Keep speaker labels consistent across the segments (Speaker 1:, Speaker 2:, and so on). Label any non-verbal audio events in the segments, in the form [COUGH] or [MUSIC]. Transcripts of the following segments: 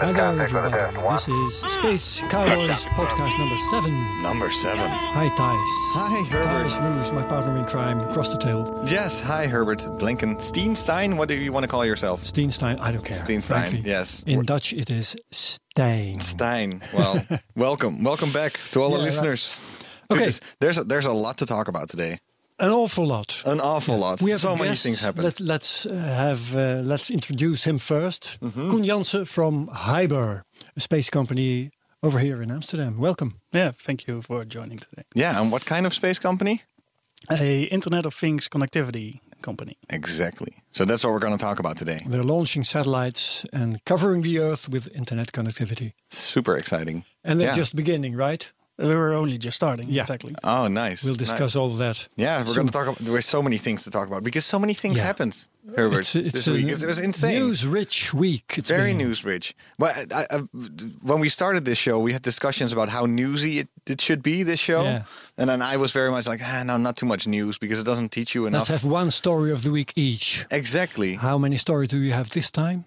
Speaker 1: Hello, everybody. This is Space
Speaker 2: [LAUGHS]
Speaker 1: Cowboys podcast number seven.
Speaker 2: Number seven.
Speaker 1: Hi, Thijs.
Speaker 2: Hi, Herbert.
Speaker 1: Thijs Roos, my partner in crime, across the table.
Speaker 2: Yes, hi, Herbert Blinkensteinstein. What do you want to call yourself?
Speaker 1: Steenstein, I don't care.
Speaker 2: Steenstein,
Speaker 1: frankly.
Speaker 2: yes.
Speaker 1: In Dutch, it is Stein.
Speaker 2: Stein.
Speaker 1: [LAUGHS]
Speaker 2: Well, welcome. Welcome back to all the
Speaker 1: Yeah, right.
Speaker 2: listeners. Dude,
Speaker 1: Okay.
Speaker 2: this- there's a, there's a lot to talk about today.
Speaker 1: An awful lot.
Speaker 2: An awful lot.
Speaker 1: we have
Speaker 2: so
Speaker 1: a
Speaker 2: many
Speaker 1: guest.
Speaker 2: things happened.
Speaker 1: Let, let's uh, have uh, let's introduce him 1st
Speaker 2: Mm-hmm.
Speaker 1: Koen Jansen from Hyber, a space company over here in Amsterdam. Welcome.
Speaker 3: Yeah, thank you for joining today.
Speaker 2: yeah, and what kind of space company?
Speaker 3: A Internet of Things connectivity company.
Speaker 2: Exactly. So that's what we're going to talk about today.
Speaker 1: They're launching satellites and covering the Earth with internet connectivity.
Speaker 2: Super exciting.
Speaker 1: And they're
Speaker 2: Yeah.
Speaker 1: just beginning, right?
Speaker 3: We were only just starting.
Speaker 1: Yeah.
Speaker 3: exactly.
Speaker 2: Oh, nice.
Speaker 1: We'll discuss all of that.
Speaker 2: Yeah, we're
Speaker 1: soon.
Speaker 2: going to talk about. There's so many things to talk about because so many things
Speaker 1: Yeah.
Speaker 2: happened, Herbert.
Speaker 1: It's, it's
Speaker 2: this
Speaker 1: a
Speaker 2: week it was insane.
Speaker 1: news-rich week. It's
Speaker 2: Very
Speaker 1: been.
Speaker 2: news rich. Well, I, I, when we started this show, we had discussions about how newsy it, it should be. This show,
Speaker 1: Yeah.
Speaker 2: and then I was very much like, ah, no, not too much news because it doesn't teach you enough.
Speaker 1: Let's have one story of the week each.
Speaker 2: exactly.
Speaker 1: How many stories do you have this time?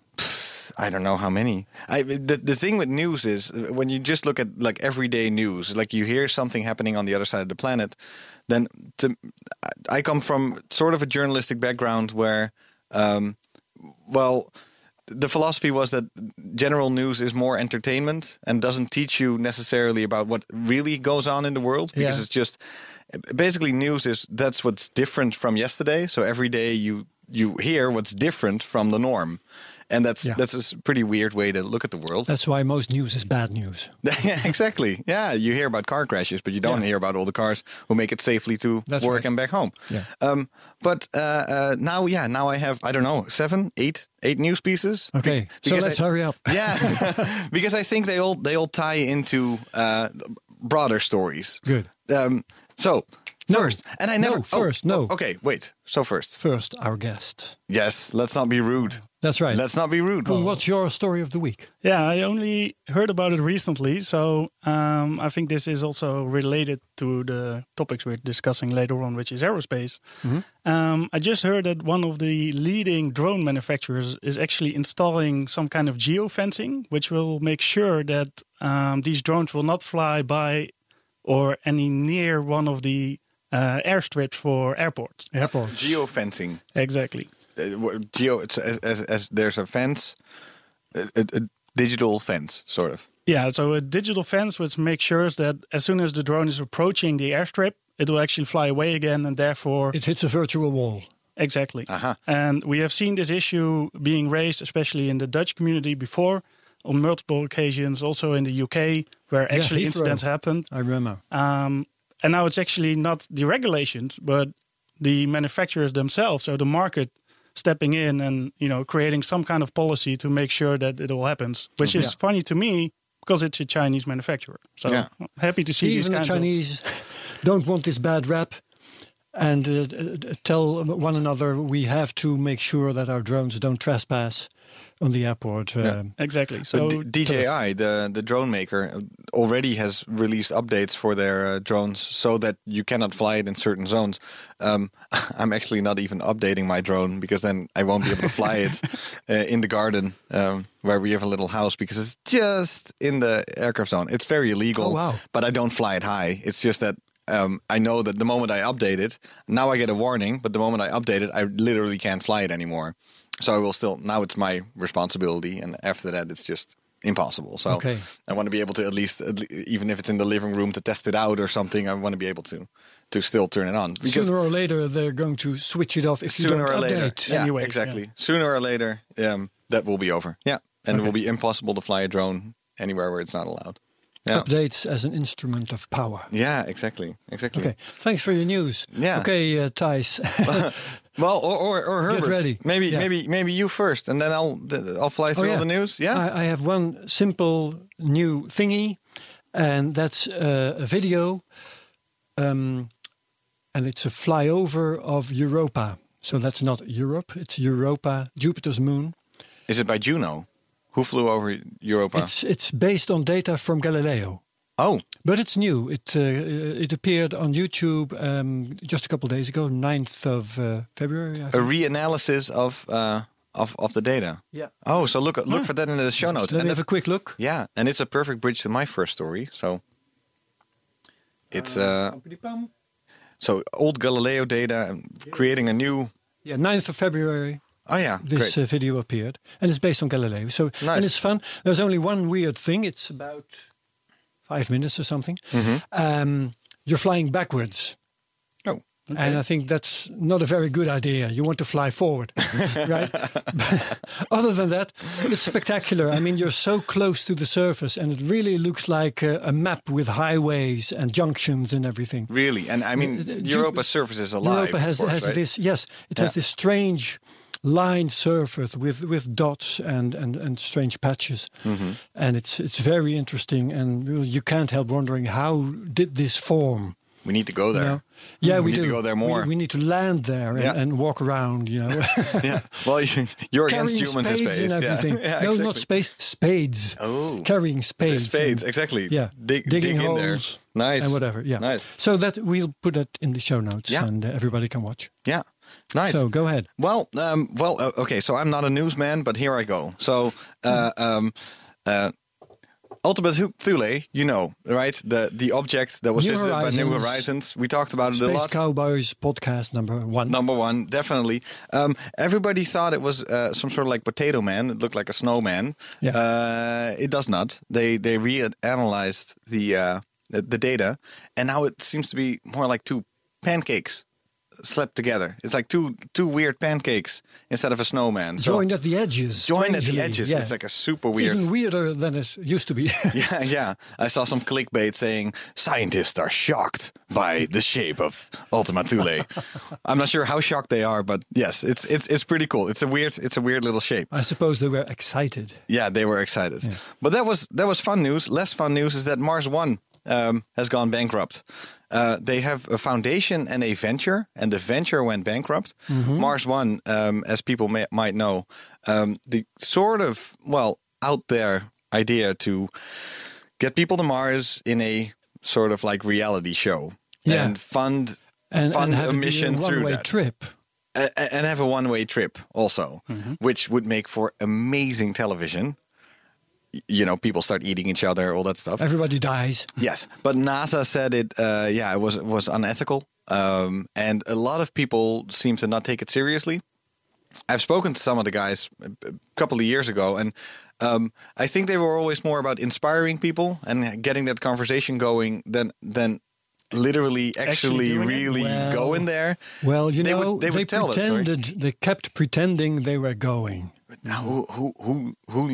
Speaker 2: I don't know how many. I, the the thing with news is uh, when you just look at like everyday news, like you hear something happening on the other side of the planet, then to, I- I come from sort of a journalistic background where, um, well, the philosophy was that general news is more entertainment and doesn't teach you necessarily about what really goes on in the world because
Speaker 1: Yeah.
Speaker 2: it's just basically news is that's what's different from yesterday. So every day you you hear what's different from the norm. And that's
Speaker 1: Yeah.
Speaker 2: that's a s- pretty weird way to look at the world. [LAUGHS]
Speaker 1: That's why most news is bad news.
Speaker 2: exactly. Yeah, you hear about car crashes, but you don't
Speaker 1: Yeah.
Speaker 2: hear about all the cars who make it safely to
Speaker 1: That's
Speaker 2: work
Speaker 1: right.
Speaker 2: and back home.
Speaker 1: Yeah.
Speaker 2: Um, but uh, uh, now, yeah, now I have I don't know seven, eight, eight news pieces. Be-
Speaker 1: Okay, so
Speaker 2: because
Speaker 1: let's
Speaker 2: I-
Speaker 1: hurry up. [LAUGHS]
Speaker 2: Yeah, [LAUGHS] because I think they all they all tie into uh, broader stories.
Speaker 1: Good.
Speaker 2: Um, so
Speaker 1: No.
Speaker 2: first, and I
Speaker 1: No,
Speaker 2: never oh,
Speaker 1: first, no.
Speaker 2: oh, okay, wait. So first,
Speaker 1: First, our guest.
Speaker 2: yes. Let's not be rude.
Speaker 1: That's right.
Speaker 2: Let's not be rude.
Speaker 1: Koen, what's your story of the week?
Speaker 3: Yeah, I only heard about it recently, so um, I think this is also related to the topics we're discussing later on, which is aerospace. Um, I just heard that one of the leading drone manufacturers is actually installing some kind of geofencing, which will make sure that um, these drones will not fly by or any near one of the uh, airstrips for airports.
Speaker 1: Airport.
Speaker 2: Geofencing.
Speaker 3: Exactly.
Speaker 2: uh, wha- geo it's as, as, as there's a fence a, a, a digital fence sort of
Speaker 3: Yeah, so a digital fence which makes sure that as soon as the drone is approaching the airstrip, it will actually fly away again, and therefore
Speaker 1: It Uh-huh. hits a virtual wall.
Speaker 3: exactly.
Speaker 2: Aha.
Speaker 3: And we have seen this issue being raised, especially in the Dutch community before, on multiple occasions, also in the UK, where
Speaker 1: Yeah,
Speaker 3: actually
Speaker 1: Heathrow.
Speaker 3: incidents happened.
Speaker 1: I remember.
Speaker 3: Um, and now it's actually not the regulations, but the manufacturers themselves, so the market stepping in and you know creating some kind of policy to make sure that it all happens, which is funny to me because it's a Chinese manufacturer. So
Speaker 2: Yeah.
Speaker 3: happy to see these
Speaker 1: Even the
Speaker 3: kinds of-
Speaker 1: Chinese don't want this bad rap and uh, d- d- tell one another we have to make sure that our drones don't trespass on the airport. Um,
Speaker 3: exactly.
Speaker 2: so
Speaker 3: So
Speaker 2: D- DJI the the drone maker uh, already has released updates for their uh, drones so that you cannot fly it in certain zones um, [LAUGHS] I'm actually not even updating my drone because then I won't be able to fly
Speaker 1: [LAUGHS]
Speaker 2: it uh, in the garden um, where we have a little house because it's just in the aircraft zone it's very illegal
Speaker 1: Oh, wow.
Speaker 2: but I don't fly it high. It's just that um, I know that the moment I update it, now I get a warning, but the moment I update it, I literally can't fly it anymore. So I will still, now it's my responsibility. And after that, it's just impossible. So
Speaker 1: Okay.
Speaker 2: I want to be able to at least, at le- even if it's in the living room to test it out or something, I want to be able to, to still turn it on. Because
Speaker 1: sooner or later, they're going to switch it off if you
Speaker 2: sooner
Speaker 1: don't
Speaker 2: or later,
Speaker 1: update.
Speaker 2: yeah,
Speaker 3: Anyway,
Speaker 2: exactly. Sooner or later, um, that will be over. Yeah. And it will be impossible to fly a drone anywhere where it's not allowed. Yeah.
Speaker 1: Updates as an instrument of power.
Speaker 2: Yeah, exactly. Exactly.
Speaker 1: Okay, thanks for your news.
Speaker 2: Yeah.
Speaker 1: Okay, uh, Thijs. [LAUGHS]
Speaker 2: Well, or or, or Herbert.
Speaker 1: ready.
Speaker 2: Maybe
Speaker 1: Yeah. Oh,
Speaker 2: maybe maybe you first, and then I'll th- I'll fly through all the news. Yeah.
Speaker 1: I, I have one simple new thingy, and that's uh, a video, um, and it's a flyover of Europa. So that's not Europe; it's Europa, Jupiter's moon.
Speaker 2: Is it by Juno? Who flew over Europa?
Speaker 1: It's it's based on data from Galileo.
Speaker 2: oh,
Speaker 1: But it's new. It uh, uh, it appeared on YouTube um, just a couple days ago, 9th of uh, February. I
Speaker 2: a
Speaker 1: think.
Speaker 2: reanalysis of uh, of of the data.
Speaker 1: Yeah.
Speaker 2: Oh, so look look for that in the show notes.
Speaker 1: Let me
Speaker 2: And
Speaker 1: have
Speaker 2: that's-
Speaker 1: a quick look.
Speaker 2: yeah, and it's a perfect bridge to my first story. So it's uh, so old Galileo data and creating a new.
Speaker 1: Yeah, 9th of February.
Speaker 2: Oh yeah,
Speaker 1: this
Speaker 2: great.
Speaker 1: uh, video appeared, and it's based on Galileo. So
Speaker 2: Nice.
Speaker 1: and it's fun. There's only one weird thing. It's about five minutes or something.
Speaker 2: Mm-hmm.
Speaker 1: Um, you're flying backwards,
Speaker 2: oh.
Speaker 1: and I think that's not a very good idea. You want to fly forward, [LAUGHS] right? But Other than that, it's spectacular. I mean, you're so close to the surface, and it really looks like a, a map with highways and junctions and everything.
Speaker 2: Really, and I mean,
Speaker 1: Uh, uh,
Speaker 2: Europa's
Speaker 1: Ju-
Speaker 2: surface is alive.
Speaker 1: Europa
Speaker 2: of
Speaker 1: has,
Speaker 2: course,
Speaker 1: has
Speaker 2: right?
Speaker 1: this, yes, it
Speaker 2: Yeah.
Speaker 1: has this strange lined surface with, with dots and, and, and strange patches.
Speaker 2: Mm-hmm.
Speaker 1: And it's, it's very interesting. And you- you can't help wondering how did this form?
Speaker 2: We need to go
Speaker 1: you
Speaker 2: there.
Speaker 1: know? Yeah, we,
Speaker 2: need to
Speaker 1: do.
Speaker 2: go there
Speaker 1: We-
Speaker 2: more.
Speaker 1: We, need to land there and,
Speaker 2: Yeah.
Speaker 1: and walk around,
Speaker 2: [LAUGHS]
Speaker 1: you know.
Speaker 2: yeah. Well, [LAUGHS] you- you're against
Speaker 1: Carrying
Speaker 2: humans in
Speaker 1: spades
Speaker 2: space.
Speaker 1: and
Speaker 2: yeah.
Speaker 1: everything.
Speaker 2: [LAUGHS] Yeah,
Speaker 1: no,
Speaker 2: exactly.
Speaker 1: not space, spades.
Speaker 2: Oh.
Speaker 1: Carrying spades.
Speaker 2: Spades,
Speaker 1: and-
Speaker 2: exactly.
Speaker 1: Yeah,
Speaker 2: Dig,
Speaker 1: digging
Speaker 2: dig in there.
Speaker 1: holes
Speaker 2: Nice.
Speaker 1: And whatever, yeah.
Speaker 2: Nice.
Speaker 1: So that we'll put that in the show notes,
Speaker 2: Yeah.
Speaker 1: and uh, everybody can watch.
Speaker 2: Yeah. Nice.
Speaker 1: So go ahead.
Speaker 2: Well, um, well, uh, okay. So I'm not a newsman, but here I go. So, uh,
Speaker 1: Hmm.
Speaker 2: um, uh, Ultimate Thu- Thule, you know, right? The the object that was
Speaker 1: New
Speaker 2: visited by New
Speaker 1: Horizons.
Speaker 2: Horizons. We talked about it a
Speaker 1: Space
Speaker 2: lot.
Speaker 1: Cowboys podcast number one.
Speaker 2: Number one, definitely. Um, everybody thought it was uh, some sort of like potato man. It looked like a snowman.
Speaker 1: Yeah.
Speaker 2: Uh, it does not. They they reanalyzed the uh, the the data, and now it seems to be more like two pancakes slept together. It's like two two weird pancakes instead of a snowman. So [LAUGHS]
Speaker 1: joined at the edges.
Speaker 2: joined at the
Speaker 1: strangely.
Speaker 2: edges.
Speaker 1: Yeah.
Speaker 2: It's like a super
Speaker 1: It's
Speaker 2: weird.
Speaker 1: even weirder than it used to be. [LAUGHS]
Speaker 2: Yeah, yeah. I saw some clickbait saying scientists are shocked by the shape of
Speaker 1: [LAUGHS]
Speaker 2: Ultima Thule. I'm not sure how shocked they are, but yes, it's it's it's pretty cool. It's a weird it's a weird little shape.
Speaker 1: I suppose they were excited.
Speaker 2: Yeah, they were excited. But that was that was fun news. Less fun news is that Mars One um, has gone bankrupt. Uh, they have a foundation and a venture, and the venture went bankrupt.
Speaker 1: Mm-hmm.
Speaker 2: Mars One, um, as people may, might know, um, the sort of well out there idea to get people to Mars in a sort of like reality show
Speaker 1: Yeah.
Speaker 2: and fund
Speaker 1: And,
Speaker 2: fund
Speaker 1: and have
Speaker 2: a mission through
Speaker 1: one-way
Speaker 2: that
Speaker 1: trip.
Speaker 2: a- a- and have a one way trip also, which would make for amazing television. Y- You know, people start eating each other, all that stuff.
Speaker 1: [LAUGHS] Everybody dies.
Speaker 2: yes, but NASA said it. Uh, yeah, it was it was unethical, um, and a lot of people seem to not take it seriously. I've spoken to some of the guys a a couple of years ago, and um, I think they were always more about inspiring people and getting that conversation going than than literally
Speaker 3: Actually
Speaker 2: actually,
Speaker 3: doing it?
Speaker 2: really
Speaker 1: Well,
Speaker 2: going there.
Speaker 1: Well, you
Speaker 2: They would-
Speaker 1: know,
Speaker 2: they would tell us, sorry.
Speaker 1: pretended, they kept pretending they were going.
Speaker 2: Now, who who who who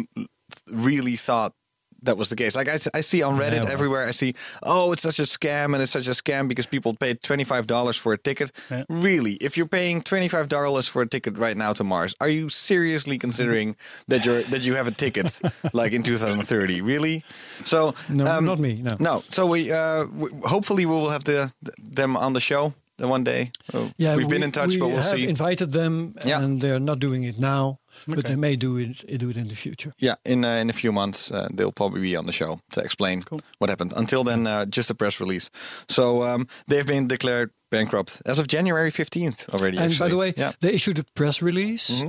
Speaker 2: really thought that was the case? Like I, s- I see on Reddit
Speaker 1: well.
Speaker 2: everywhere, I see, oh, it's such a scam and it's such a scam because people paid twenty five dollars for a ticket.
Speaker 3: Yeah.
Speaker 2: Really, if you're paying twenty five dollars for a ticket right now to Mars, are you seriously
Speaker 1: Mm-hmm.
Speaker 2: considering that you're that you have a
Speaker 1: [LAUGHS]
Speaker 2: ticket like in 2030? Really? So um,
Speaker 1: No, not me, no.
Speaker 2: no. So we uh, we, hopefully we will have the them on the show the one day. Oh,
Speaker 1: Yeah,
Speaker 2: we've been
Speaker 1: we-
Speaker 2: in touch,
Speaker 1: we
Speaker 2: but we'll
Speaker 1: have
Speaker 2: see.
Speaker 1: invited them,
Speaker 2: Yeah.
Speaker 1: and they're not doing it now, but
Speaker 3: Okay.
Speaker 1: they may do it, do it in the future.
Speaker 2: Yeah, in uh, in a few months uh, they'll probably be on the show to explain what happened. Until then, uh, just a press release. So um, they've been declared bankrupt as of January fifteenth already.
Speaker 1: And
Speaker 2: actually.
Speaker 1: by the way,
Speaker 2: yeah, Mm-hmm.
Speaker 1: they issued a press release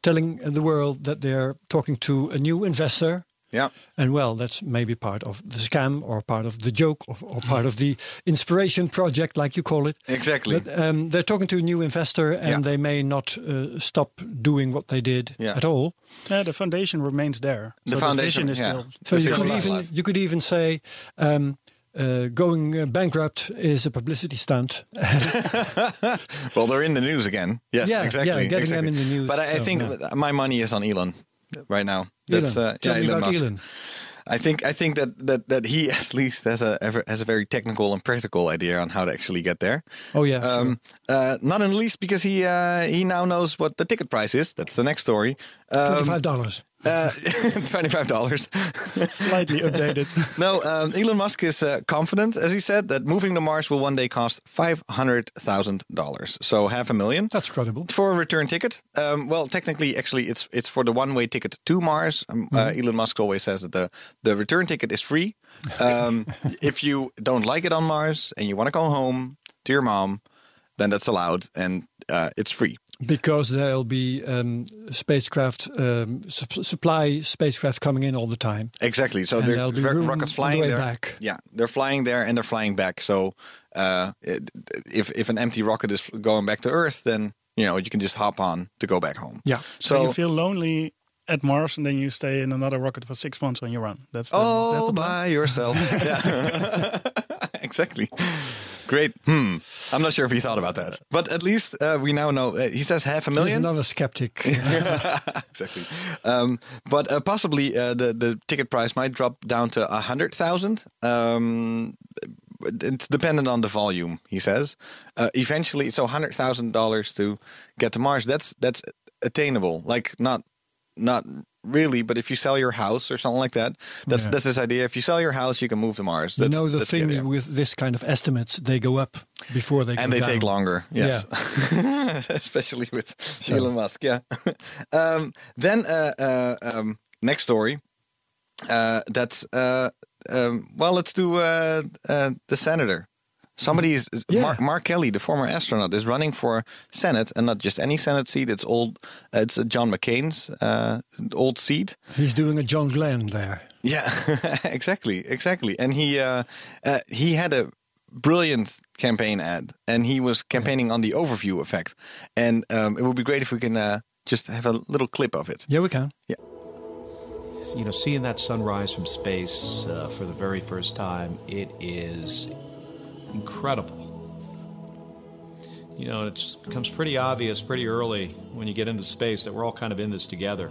Speaker 1: telling the world that they're talking to a new investor.
Speaker 2: yeah,
Speaker 1: And well, that's maybe part of the scam or part of the joke or, or part of the inspiration project, like you call it.
Speaker 2: exactly.
Speaker 1: But um, they're talking to a new investor and
Speaker 2: Yeah.
Speaker 1: they may not uh, stop doing what they did
Speaker 2: Yeah.
Speaker 1: at all.
Speaker 3: Yeah, the foundation remains there.
Speaker 2: The
Speaker 3: So
Speaker 2: foundation,
Speaker 3: the vision is
Speaker 2: yeah.
Speaker 3: still.
Speaker 1: So
Speaker 2: They're
Speaker 1: you
Speaker 2: still
Speaker 1: could,
Speaker 2: alive.
Speaker 1: even, you could even say um, uh, going uh, bankrupt is a publicity stunt.
Speaker 2: well, they're in the news again. Yes,
Speaker 1: Yeah, yeah,
Speaker 2: exactly.
Speaker 1: getting
Speaker 2: exactly.
Speaker 1: them in the news,
Speaker 2: But I, I
Speaker 1: so,
Speaker 2: think
Speaker 1: yeah.
Speaker 2: my money is on Elon right now. That's
Speaker 1: Elon,
Speaker 2: uh,
Speaker 1: tell
Speaker 2: yeah,
Speaker 1: me
Speaker 2: Elon
Speaker 1: about
Speaker 2: Musk.
Speaker 1: Elon.
Speaker 2: I think I think that that that he [LAUGHS] at least has a has a very technical and practical idea on how to actually get there.
Speaker 1: Oh yeah.
Speaker 2: Um, uh, not in the least because he uh, he now knows what the ticket price is. That's the next story.
Speaker 1: sure.
Speaker 2: Um,
Speaker 1: Twenty-five dollars.
Speaker 2: uh, [LAUGHS] Twenty-five dollars.
Speaker 3: Slightly updated.
Speaker 2: no, um, Elon Musk is uh, confident, as he said, that moving to Mars will one day cost five hundred thousand dollars. So half a million
Speaker 1: That's credible.
Speaker 2: for a return ticket. Um, well, technically, actually, it's it's for the one-way ticket to Mars. Um, uh,
Speaker 1: Mm-hmm.
Speaker 2: Elon Musk always says that the the return ticket is free.
Speaker 1: [LAUGHS]
Speaker 2: Um, if you don't like it on Mars and you want to go home to your mom, then that's allowed and uh, it's free.
Speaker 1: Because there'll be um, spacecraft um, sup- supply spacecraft coming in all the time.
Speaker 2: Exactly. So
Speaker 1: And
Speaker 2: they're
Speaker 1: there'll be
Speaker 2: ro-
Speaker 1: room
Speaker 2: rockets
Speaker 1: on the
Speaker 2: flying
Speaker 1: way
Speaker 2: there.
Speaker 1: back.
Speaker 2: Yeah, they're flying there and they're flying back. So uh, it- if if an empty rocket is going back to Earth, then you know you can just hop on to go back home.
Speaker 1: Yeah.
Speaker 3: So
Speaker 2: So.
Speaker 3: you feel lonely at Mars, and then you stay in another rocket for six months when you run. That's the, that's
Speaker 2: all
Speaker 3: the plan.
Speaker 2: by
Speaker 3: [LAUGHS]
Speaker 2: yourself. Yeah. [LAUGHS] exactly. Great. Hmm. I'm not sure if he thought about that, but at least uh, we now know. Uh, he says half a
Speaker 1: He's
Speaker 2: million.
Speaker 1: another
Speaker 2: [LAUGHS]
Speaker 1: skeptic.
Speaker 2: exactly. Um, but uh, possibly uh, the the ticket price might drop down to a hundred thousand. Um, it's dependent on the volume, he says. Uh, eventually, so hundred thousand dollars to get to Mars. That's that's attainable. Like not not really, but if you sell your house or something like that, that's
Speaker 1: Yeah.
Speaker 2: that's this idea. If you sell your house, you can move to Mars.
Speaker 1: you
Speaker 2: That's,
Speaker 1: know the
Speaker 2: that's
Speaker 1: thing
Speaker 2: idea.
Speaker 1: with this kind of estimates, they go up before they
Speaker 2: and
Speaker 1: go
Speaker 2: they
Speaker 1: down.
Speaker 2: take longer. Yes, [LAUGHS] especially with Elon Musk. Yeah. [LAUGHS] um, then uh, uh, um, next story. Uh, that's uh, um, well. Let's do uh, uh, the senator. Somebody is is-
Speaker 1: Yeah.
Speaker 2: Mark, Mark Kelly, the former astronaut, is running for Senate, and not just any Senate seat. It's old. It's uh, John McCain's uh, old seat.
Speaker 1: He's doing a John Glenn there.
Speaker 2: Yeah, [LAUGHS] exactly, exactly. And he uh, uh, he had a brilliant campaign ad, and he was campaigning on the overview effect. And um, it would be great if we can uh, just have a little clip of it.
Speaker 1: Yeah, we can.
Speaker 4: you know, seeing that sunrise from space uh, for the very first time, it is incredible. You know, it becomes pretty obvious pretty early when you get into space that we're all kind of in this together.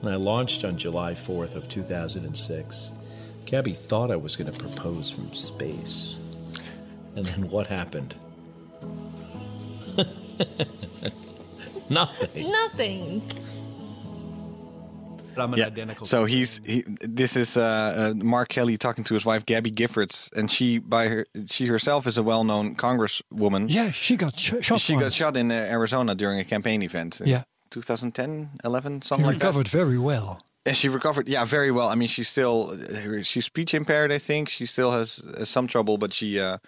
Speaker 4: When I launched on July 4th of 2006, Gabby thought I was going to propose from space. And then what happened? [LAUGHS] Nothing.
Speaker 5: Nothing.
Speaker 4: I'm an
Speaker 2: Yeah.
Speaker 4: identical
Speaker 2: So he's he, this is uh, uh, Mark Kelly talking to his wife Gabby Giffords, and she by her she herself is a well-known congresswoman.
Speaker 1: Yeah, she got sh- shot.
Speaker 2: She got
Speaker 1: once.
Speaker 2: shot in uh, Arizona during a campaign event. in
Speaker 1: Yeah.
Speaker 2: 2010, 11, something
Speaker 1: He
Speaker 2: like that.
Speaker 1: recovered very well.
Speaker 2: And she recovered, yeah, very well. I mean, she's still she's speech impaired. I think she still has uh, some trouble, but she, uh,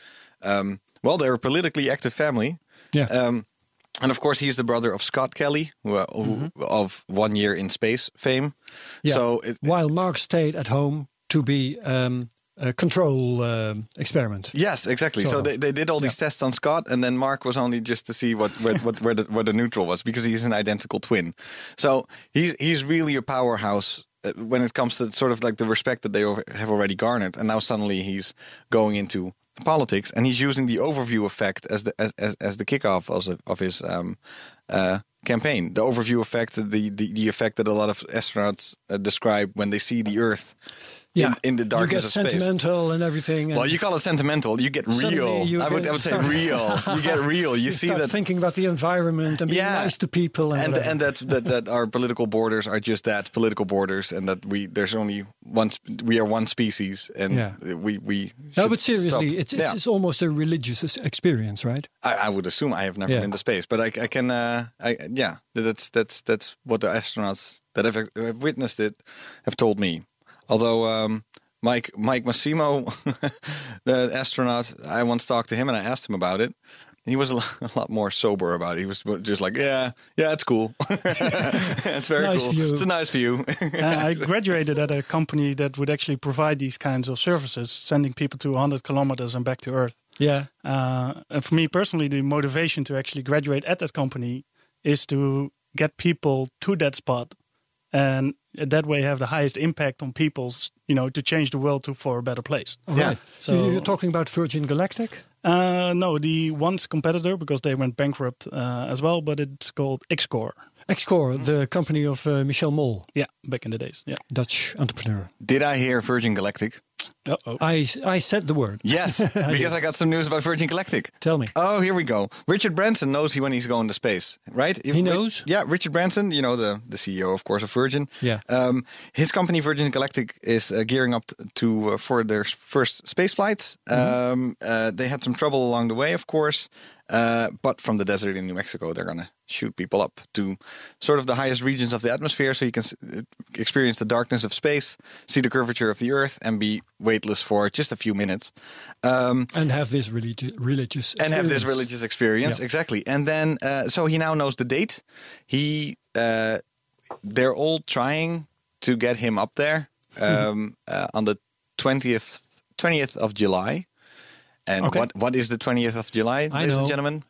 Speaker 2: um, well, they're a politically active family,
Speaker 1: Yeah.
Speaker 2: um, and of course, he's the brother of Scott Kelly, who, uh, who of One Year in Space fame.
Speaker 1: yeah.
Speaker 2: So it,
Speaker 1: while Mark stayed at home to be um, a control um, experiment.
Speaker 2: yes, exactly. So
Speaker 1: Sort of.
Speaker 2: they, they did all these tests on Scott, and then Mark was only just to see what where, what where the, where the neutral was because he's an identical twin. So he's he's really a powerhouse. uh, When it comes to sort of like the respect that they al- have already garnered, and now suddenly he's going into politics, and he's using the overview effect as the as as, as the kickoff of of his um, uh, campaign. The overview effect, the, the the effect that a lot of astronauts uh, describe when they see the Earth in, in the
Speaker 1: you get
Speaker 2: darkness of space.
Speaker 1: sentimental and everything. And
Speaker 2: Well, you call it sentimental. You get
Speaker 1: Suddenly
Speaker 2: real.
Speaker 1: you
Speaker 2: I would,
Speaker 1: get-
Speaker 2: I would say
Speaker 1: start-
Speaker 2: real. You
Speaker 1: [LAUGHS]
Speaker 2: get real. You,
Speaker 1: you
Speaker 2: see
Speaker 1: start
Speaker 2: that.
Speaker 1: thinking about the environment and being
Speaker 2: Yeah.
Speaker 1: nice to people and
Speaker 2: and
Speaker 1: whatever.
Speaker 2: and that, that that our political borders are just that political borders, and that we there's only one sp- we are one species, and
Speaker 1: Yeah.
Speaker 2: we we.
Speaker 1: no,
Speaker 2: should
Speaker 1: but
Speaker 2: stop.
Speaker 1: seriously, it's, it's,
Speaker 2: Yeah.
Speaker 1: it's almost a religious ex- experience, right?
Speaker 2: I, I would assume I have never
Speaker 1: Yeah.
Speaker 2: been to space, but I, I can. Uh, I yeah, that's that's that's what the astronauts that have, have witnessed it have told me. Although um, Mike Mike Massimo, [LAUGHS] the astronaut, I once talked to him and I asked him about it. He was a lo- [LAUGHS] a lot more sober about it. He was just like, "Yeah, yeah, it's cool. [LAUGHS] it's very
Speaker 1: Nice
Speaker 2: cool.
Speaker 1: view.
Speaker 2: It's a nice view." [LAUGHS]
Speaker 3: [LAUGHS] Uh, I graduated at a company that would actually provide these kinds of services, sending people to 100 kilometers and back to Earth.
Speaker 1: Yeah.
Speaker 3: Uh, and for me personally, the motivation to actually graduate at that company is to get people to that spot and that way have the highest impact on people's, you know, to change the world to for a better place.
Speaker 1: All
Speaker 2: Yeah.
Speaker 1: right. So
Speaker 3: So-
Speaker 1: you're talking about Virgin Galactic?
Speaker 3: Uh, no, the once competitor because they went bankrupt uh, as well, but it's called Xcore.
Speaker 1: Excor,
Speaker 2: Mm-hmm.
Speaker 1: the company of uh, Michel Mol,
Speaker 3: Yeah, back in the days.
Speaker 2: [LAUGHS]
Speaker 3: Yeah.
Speaker 1: Dutch entrepreneur.
Speaker 2: Did I hear Virgin Galactic?
Speaker 3: Uh-oh.
Speaker 1: I, I said the word. [LAUGHS]
Speaker 2: Yes, because I got some news about Virgin Galactic.
Speaker 1: Tell me.
Speaker 2: Oh, here we go. Richard Branson knows he when he's going to space, right? If
Speaker 1: He
Speaker 2: Ri-
Speaker 1: knows?
Speaker 2: yeah, Richard Branson, you know the the CEO, of course, of Virgin.
Speaker 1: Yeah.
Speaker 2: Um, his company Virgin Galactic is uh, gearing up t- to uh, for their s- first space flights.
Speaker 1: Mm-hmm.
Speaker 2: Um, uh, they had some trouble along the way, of course, uh, but from the desert in New Mexico, they're gonna shoot people up to sort of the highest regions of the atmosphere, so you can s- uh, experience the darkness of space, see the curvature of the Earth, and be weightless for just a few minutes. Um,
Speaker 1: And have this religi- religious
Speaker 2: and have this
Speaker 1: experience.
Speaker 2: religious experience exactly and then uh, so he now knows the date he uh, they're all trying to get him up there
Speaker 1: Mm-hmm.
Speaker 2: um, uh, on the 20th 20th of july and
Speaker 1: Okay.
Speaker 2: what what is the 20th of july
Speaker 1: I
Speaker 2: ladies and
Speaker 1: know.
Speaker 2: gentlemen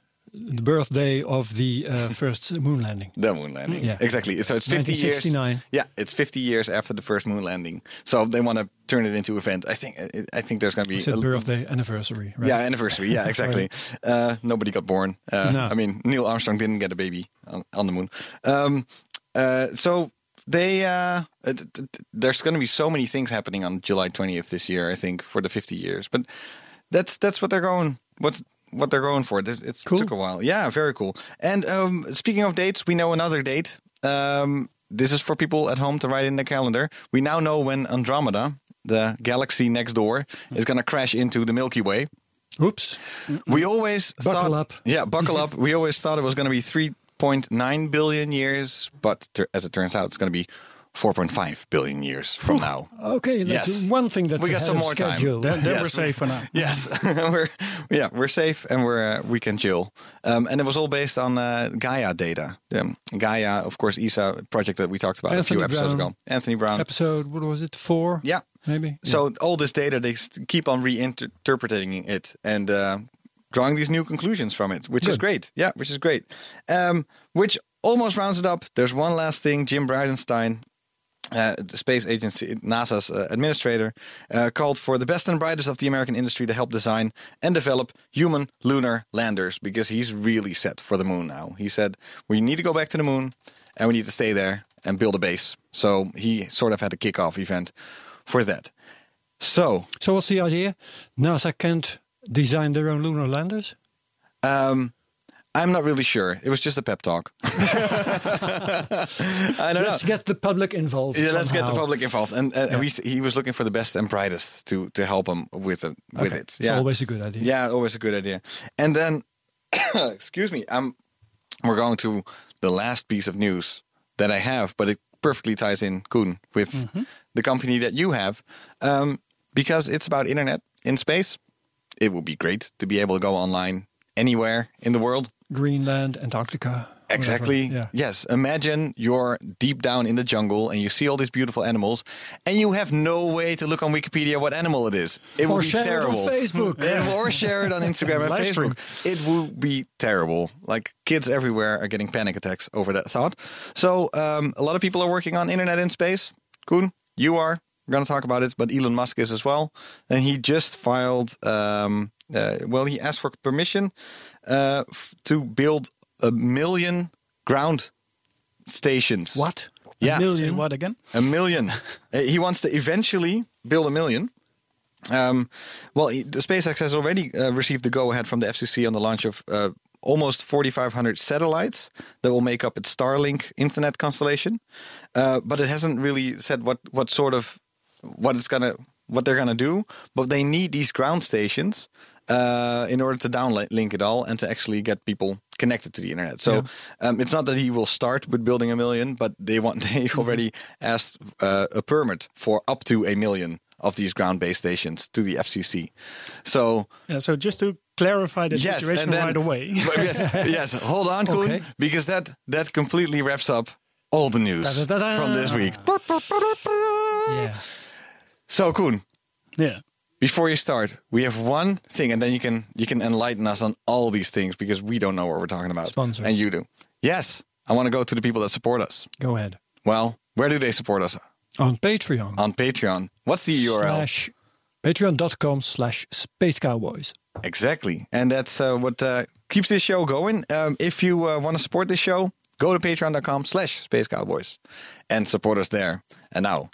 Speaker 1: The birthday of the uh, [LAUGHS] first moon landing.
Speaker 2: the moon landing
Speaker 1: Yeah.
Speaker 2: exactly so it's 50 years
Speaker 1: 1969.
Speaker 2: yeah it's 50 years after the first moon landing so they want to turn it into event i think i think there's going to be
Speaker 1: You said
Speaker 2: a-
Speaker 1: birthday anniversary, right?
Speaker 2: Yeah, anniversary.
Speaker 1: [LAUGHS]
Speaker 2: Yeah, exactly. uh, nobody got born. Uh,
Speaker 1: No.
Speaker 2: I mean, Neil Armstrong didn't get a baby on, on the moon. Um, uh, so they uh, it- it- it- there's going to be so many things happening on July 20th this year. I think for the 50 years, but that's that's what they're going. What's what they're going for? It, it
Speaker 1: Cool.
Speaker 2: took a while. Yeah, very cool. And um, speaking of dates, we know another date. Um, this is for people at home to write in the calendar. We now know when Andromeda, the galaxy next door,
Speaker 1: Hmm.
Speaker 2: is going to crash into the Milky Way.
Speaker 1: Oops.
Speaker 2: We always
Speaker 1: Buckle
Speaker 2: thought,
Speaker 1: up.
Speaker 2: Yeah, buckle up. We always thought it was going to be 3.9 billion years, but tur- as it turns out, it's going to be 4.5 billion years from now.
Speaker 1: Okay, that's
Speaker 2: Yes.
Speaker 1: one thing that's
Speaker 2: We got
Speaker 1: ahead
Speaker 2: some
Speaker 1: of
Speaker 2: more time.
Speaker 1: schedule.
Speaker 3: Then, then
Speaker 2: Yes.
Speaker 3: we're safe for now.
Speaker 2: Yes, we're yeah we're safe and we're uh, we can chill. Um, and it was all based on uh, Gaia data. Um, Gaia, of course, ESA project that we talked about a
Speaker 1: Anthony
Speaker 2: few episodes
Speaker 1: Brown.
Speaker 2: ago. Anthony Brown.
Speaker 1: Episode, what was it, four?
Speaker 2: yeah.
Speaker 1: Maybe?
Speaker 2: So all this data, they s- keep on reinterpreting it and uh, drawing these new conclusions from it, which is
Speaker 1: Good.
Speaker 2: great. Yeah, which is great. Um, which almost rounds it up. There's one last thing. Jim Bridenstine, uh, the space agency, NASA's uh, administrator, uh, called for the best and brightest of the American industry to help design and develop human lunar landers because he's really set for the moon now. He said, we need to go back to the moon and we need to stay there and build a base. So he sort of had a kickoff event for that. So,
Speaker 1: So what's the idea? NASA can't design their own lunar landers?
Speaker 2: um, I'm not really sure. It was just a pep
Speaker 1: [LAUGHS]
Speaker 2: talk. I don't know.
Speaker 1: Let's get the public involved.
Speaker 2: Yeah, let's get the
Speaker 1: somehow.
Speaker 2: public involved, and, and we, s- he was looking for the best and brightest to to help him with it. With
Speaker 1: Okay,
Speaker 2: it,
Speaker 1: It's always a good idea.
Speaker 2: yeah, always a good idea. And then, [COUGHS] excuse me, um, we're going to the last piece of news that I have, but it perfectly ties in, Koen, with the company that you have, um, because it's about internet in space. It would be great to be able to go online anywhere in the world.
Speaker 1: Greenland, Antarctica. whatever.
Speaker 2: Exactly.
Speaker 1: Yeah.
Speaker 2: Yes. Imagine you're deep down in the jungle and you see all these beautiful animals, and you have no way to look on Wikipedia what animal it is. It
Speaker 1: Or
Speaker 2: would be
Speaker 1: share it on
Speaker 2: terrible.
Speaker 1: Facebook.
Speaker 2: [LAUGHS] Yeah, or share it
Speaker 1: [LAUGHS]
Speaker 2: on Instagram and
Speaker 3: Live stream.
Speaker 2: Facebook. It would be terrible. Like kids everywhere are getting panic attacks over that thought. So um, a lot of people are working on internet in space. Koen, you are. We're going to talk about it, but Elon Musk is as well. And he just filed. Um, uh, well, he asked for permission uh, f- to build a million ground stations.
Speaker 1: What?
Speaker 2: [LAUGHS] Yeah.
Speaker 3: Say what again?
Speaker 2: A million. Uh, he wants to eventually build a million. Um, well, he- the SpaceX has already uh, received the go ahead from the FCC on the launch of uh, almost 4,500 satellites that will make up its Starlink internet constellation. Uh, but it hasn't really said what, what sort of what it's gonna what they're gonna do. But they need these ground stations uh, in order to downlink it all and to actually get people connected to the internet. So um, it's not that he will start with building a million, but they want [LAUGHS] they already asked uh, a permit for up to a million of these ground-based stations to the FCC. So
Speaker 3: Yeah, so just to clarify the
Speaker 2: yes,
Speaker 3: situation
Speaker 2: and then,
Speaker 3: right away.
Speaker 2: [LAUGHS] But yes, yes. Hold on, Koen,
Speaker 1: Okay.
Speaker 2: because that that completely wraps up all the news
Speaker 1: Da-da-da-da.
Speaker 2: from this week.
Speaker 1: Yeah.
Speaker 2: So Koen,
Speaker 3: yeah.
Speaker 2: before you start, we have one thing, and then you can you can enlighten us on all these things because we don't know what we're talking about.
Speaker 1: Sponsors.
Speaker 2: and you do. Yes, I want to go to the people that support us.
Speaker 1: Go ahead.
Speaker 2: Well, Where do they support us?
Speaker 1: on Patreon.
Speaker 2: On Patreon. What's the URL?
Speaker 1: Slash patreon.com slash space cowboys.
Speaker 2: Exactly. And that's uh, what uh, keeps this show going. Um, if you uh, want to support this show, go to patreon.com slash space cowboys and support us there. And now,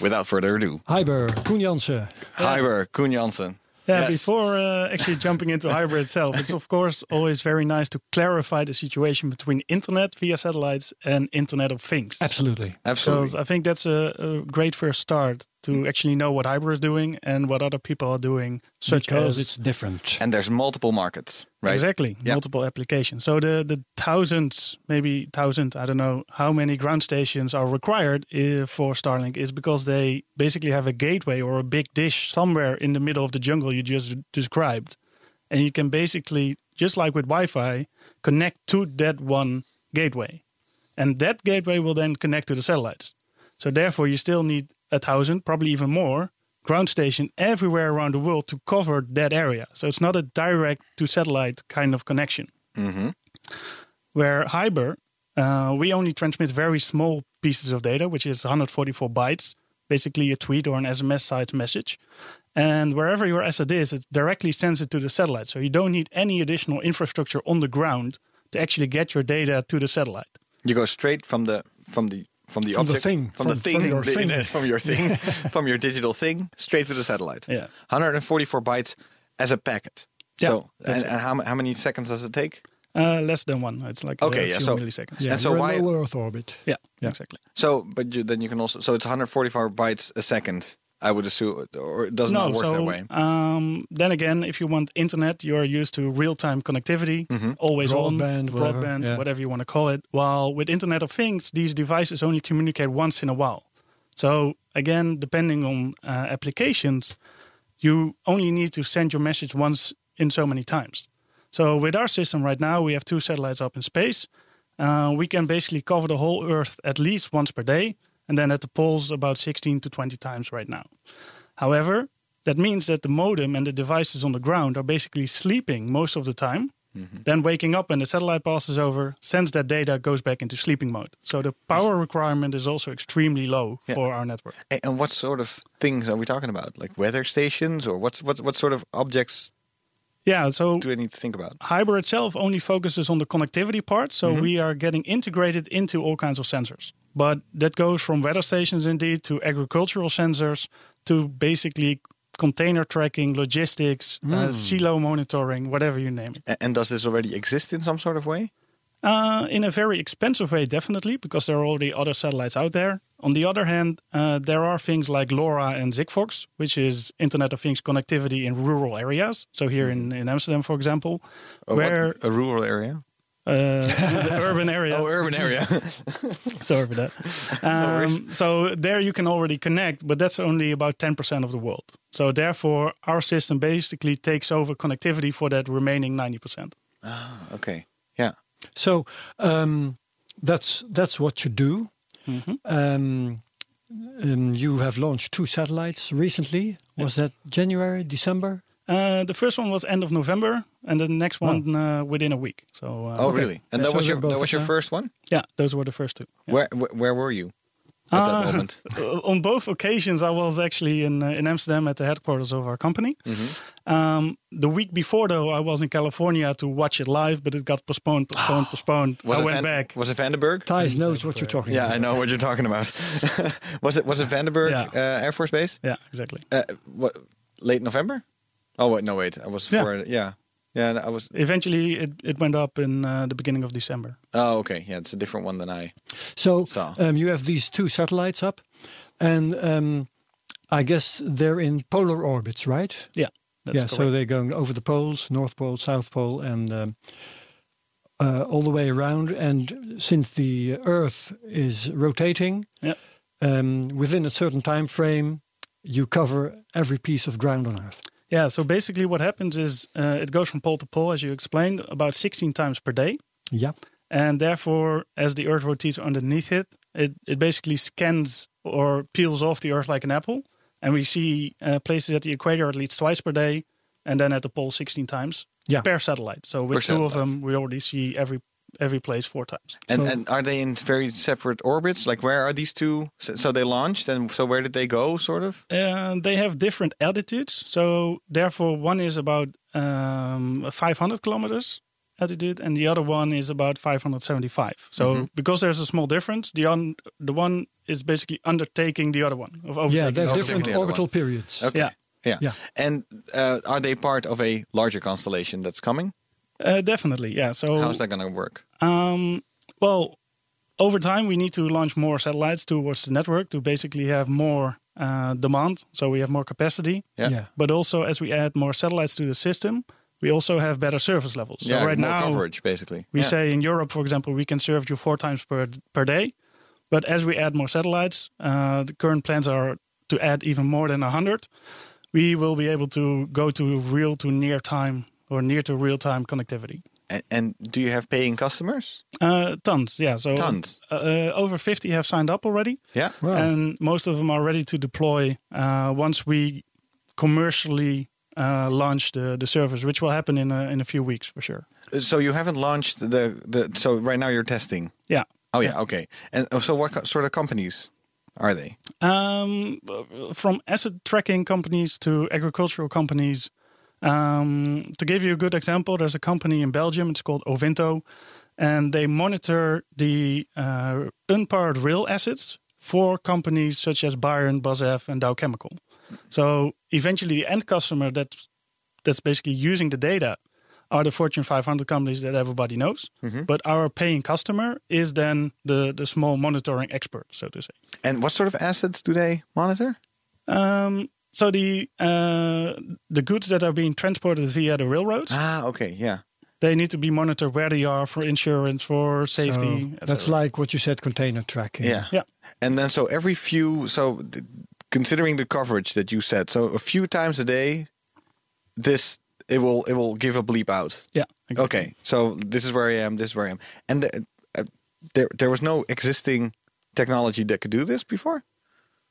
Speaker 2: without further ado,
Speaker 1: Hyber, Koen Jansen.
Speaker 2: Hyber Koen Jansen.
Speaker 3: Yeah,
Speaker 2: Yes.
Speaker 3: before uh, actually jumping into Hyber itself, it's of course always very nice to clarify the situation between internet via satellites and Internet of Things.
Speaker 1: Absolutely.
Speaker 2: Absolutely.
Speaker 3: Because I think that's a, a great first start to actually know what Hyber is doing and what other people are doing, such
Speaker 1: because
Speaker 3: as
Speaker 1: it's different.
Speaker 2: And there's multiple markets, right?
Speaker 3: Exactly,
Speaker 2: Yeah.
Speaker 3: multiple applications. So the the thousands, maybe thousand, I don't know how many ground stations are required uh, for Starlink is because they basically have a gateway or a big dish somewhere in the middle of the jungle you just described, and you can basically just like with Wi-Fi connect to that one gateway, and that gateway will then connect to the satellites. So therefore, you still need a thousand, probably even more, ground station everywhere around the world to cover that area. So it's not a direct to satellite kind of connection. Where Hyber, uh, we only transmit very small pieces of data, which is 144 bytes, basically a tweet or an SMS sized message. And wherever your asset is, it directly sends it to the satellite. So you don't need any additional infrastructure on the ground to actually get your data to the satellite.
Speaker 2: You go straight from the from the from the
Speaker 1: From the
Speaker 2: object,
Speaker 1: thing.
Speaker 2: from,
Speaker 1: From-
Speaker 2: the thing
Speaker 1: from your
Speaker 2: the
Speaker 1: thing.
Speaker 2: internet, [LAUGHS] from your thing from your digital thing straight to the satellite.
Speaker 3: Yeah.
Speaker 2: 144 bytes as a packet.
Speaker 3: Yeah,
Speaker 2: so
Speaker 3: that's
Speaker 2: and, and how, ma- how many seconds does it take?
Speaker 3: Uh, less than one. It's like
Speaker 2: Okay,
Speaker 3: a
Speaker 2: yeah,
Speaker 3: few
Speaker 2: so-
Speaker 3: milliseconds.
Speaker 1: Yeah,
Speaker 2: And so
Speaker 1: you're
Speaker 2: why-
Speaker 1: in low Earth orbit.
Speaker 3: yeah, exactly.
Speaker 2: So, but you, then you can also so it's 144 bytes a second. I would assume, or it does
Speaker 3: no,
Speaker 2: not work
Speaker 3: so
Speaker 2: that way.
Speaker 3: Um, then again, if you want internet, you're used to real-time connectivity,
Speaker 2: Mm-hmm.
Speaker 3: always
Speaker 1: Broadband,
Speaker 3: on,
Speaker 1: whatever,
Speaker 3: broadband,
Speaker 1: yeah.
Speaker 3: whatever you want to call it. While with Internet of Things, these devices only communicate once in a while. So again, depending on uh, applications, you only need to send your message once in so many times. So with our system right now, we have two satellites up in space. Uh, we can basically cover the whole Earth at least once per day, and then at the poles about 16 to 20 times right now. However, that means that the modem and the devices on the ground are basically sleeping most of the time, then waking up when the satellite passes over, sends that data, goes back into sleeping mode. So the power requirement is also extremely low for our network.
Speaker 2: A- And what sort of things are we talking about? Like weather stations, or what's what what sort of objects
Speaker 3: Yeah, so
Speaker 2: do I need to think about?
Speaker 3: Hyber itself only focuses on the connectivity part, so we are getting integrated into all kinds of sensors. But that goes from weather stations, indeed, to agricultural sensors, to basically container tracking, logistics, uh, silo monitoring, whatever you name it.
Speaker 2: A- And does this already exist in some sort of way?
Speaker 3: Uh, in a very expensive way, definitely, because there are already other satellites out there. On the other hand, uh, there are things like LoRa and Sigfox, which is Internet of Things connectivity in rural areas. So here in, in Amsterdam, for example,
Speaker 2: Or what-
Speaker 3: where
Speaker 2: Hmm. a rural area?
Speaker 3: uh, the
Speaker 2: [LAUGHS]
Speaker 3: urban areas.
Speaker 2: Oh, urban area.
Speaker 3: [LAUGHS] Sorry for that. Um, so there you can already connect, but that's only about 10% of the world. So therefore, our system basically takes over connectivity for that remaining 90%.
Speaker 2: [LAUGHS] okay. Yeah.
Speaker 1: So um, that's that's what you do. Um, um, you have launched two satellites recently. Was that January, December?
Speaker 3: Uh, the first one was end of November, and the next
Speaker 1: Oh.
Speaker 3: one uh, within a week. So uh,
Speaker 2: Oh, really? And that
Speaker 1: So
Speaker 2: was
Speaker 1: they're
Speaker 2: your
Speaker 1: both
Speaker 2: that was your
Speaker 1: there.
Speaker 2: first one.
Speaker 3: yeah, those were the first two. Yeah.
Speaker 2: Where wh- where were you at that
Speaker 3: [LAUGHS]
Speaker 2: moment?
Speaker 3: Uh, on both occasions, I was actually in uh, in Amsterdam at the headquarters of our company.
Speaker 2: Mm-hmm.
Speaker 3: Um, the week before, though, I was in California to watch it live, but it got postponed,
Speaker 2: [GASPS]
Speaker 3: postponed, postponed.
Speaker 2: Was
Speaker 3: I
Speaker 2: it Van-
Speaker 3: went back.
Speaker 2: Was it Vandenberg?
Speaker 1: Thijs knows what you're talking
Speaker 2: Yeah,
Speaker 1: about.
Speaker 2: I know what you're talking about. [LAUGHS] was it was it Vandenberg
Speaker 3: Yeah.
Speaker 2: uh, Air Force Base?
Speaker 3: Yeah, exactly.
Speaker 2: Uh, what late November? Oh wait, no wait, I was
Speaker 3: Yeah.
Speaker 2: for yeah. Yeah, I was.
Speaker 3: Eventually, it, it went up in uh, the beginning of December.
Speaker 2: Oh, okay. Yeah, it's a different one than I.
Speaker 1: So,
Speaker 2: So.
Speaker 1: Um, you have these two satellites up, and um, I guess they're in polar orbits, right?
Speaker 3: Yeah, that's
Speaker 1: yeah,
Speaker 3: correct.
Speaker 1: so they're going over the poles, North Pole, South Pole, and um, uh, all the way around. And since the Earth is rotating,
Speaker 3: yeah,
Speaker 1: um, within a certain time frame, you cover every piece of ground on Earth.
Speaker 3: yeah. So basically, what happens is uh, it goes from pole to pole, as you explained, about 16 times per day,
Speaker 1: Yeah.
Speaker 3: and therefore, as the Earth rotates underneath it, it it basically scans or peels off the Earth like an apple, and we see uh, places at the equator at least twice per day, and then at the pole 16 times
Speaker 1: Yeah.
Speaker 3: per satellite. So with
Speaker 2: Per
Speaker 3: two of
Speaker 2: satellite.
Speaker 3: them, we already see every every place four times.
Speaker 2: And,
Speaker 3: So-
Speaker 2: and are they in very separate orbits? Like, where are these two? So, so they launched, and so where did they go, sort of?
Speaker 3: Uh, they have different altitudes, so therefore one is about um, 500 kilometers altitude, and the other one is about 575. So
Speaker 2: Mm-hmm.
Speaker 3: because there's a small difference, the on, the one is basically undertaking the other one. Of
Speaker 1: Yeah,
Speaker 3: overtaking.
Speaker 1: they have
Speaker 2: Overtaking
Speaker 1: different
Speaker 2: the other
Speaker 1: orbital
Speaker 2: one.
Speaker 1: periods.
Speaker 2: Okay.
Speaker 3: yeah.
Speaker 2: Yeah.
Speaker 1: Yeah.
Speaker 2: And uh, are they part of a larger constellation that's coming?
Speaker 3: Uh, definitely, yeah. So
Speaker 2: How's that going to work?
Speaker 3: Um, well, over time, we need to launch more satellites towards the network to basically have more uh, demand, so we have more capacity.
Speaker 2: Yeah.
Speaker 1: Yeah.
Speaker 3: But also, as we add more satellites to the system, we also have better service levels. So
Speaker 2: yeah,
Speaker 3: right
Speaker 2: more
Speaker 3: now,
Speaker 2: coverage, basically.
Speaker 3: we
Speaker 2: Yeah.
Speaker 3: say in Europe, for example, we can serve you four times per per day. But as we add more satellites, uh, the current plans are to add even more than 100. We will be able to go to real to near time or near to real time connectivity.
Speaker 2: And, and do you have paying customers?
Speaker 3: Uh, tons, yeah. So
Speaker 2: Tons.
Speaker 3: uh, uh, over 50 have signed up already,
Speaker 2: Yeah.
Speaker 1: Wow.
Speaker 3: and most of them are ready to deploy uh, once we commercially uh, launch the, the service, which will happen in a, in a few weeks for sure.
Speaker 2: So you haven't launched the the. So right now you're testing.
Speaker 3: Yeah.
Speaker 2: Oh yeah. Okay. And oh, so what co- sort of companies are they?
Speaker 3: Um, b- from asset tracking companies to agricultural companies. Um, to give you a good example, there's a company in Belgium, it's called Ovinto, and they monitor the uh, unpowered rail assets for companies such as Bayern, BASF, and Dow Chemical. So eventually, the end customer that's, that's basically using the data are the Fortune 500 companies that everybody knows, but our paying customer is then the, the small monitoring expert, so to say.
Speaker 2: And what sort of assets do they monitor?
Speaker 3: Um, so the uh, the goods that are being transported via the railroads,
Speaker 2: Ah. Okay. Yeah.
Speaker 3: they need to be monitored where they are for insurance, for
Speaker 1: So
Speaker 3: safety. et
Speaker 1: that's
Speaker 3: cetera.
Speaker 1: like what you said, container tracking.
Speaker 2: Yeah.
Speaker 3: yeah,
Speaker 2: And then so every few so th- considering the coverage that you said, so a few times a day, this it will it will give a bleep out.
Speaker 3: yeah. exactly.
Speaker 2: Okay, so this is where I am. This is where I am. And the, uh, there there was no existing technology that could do this before.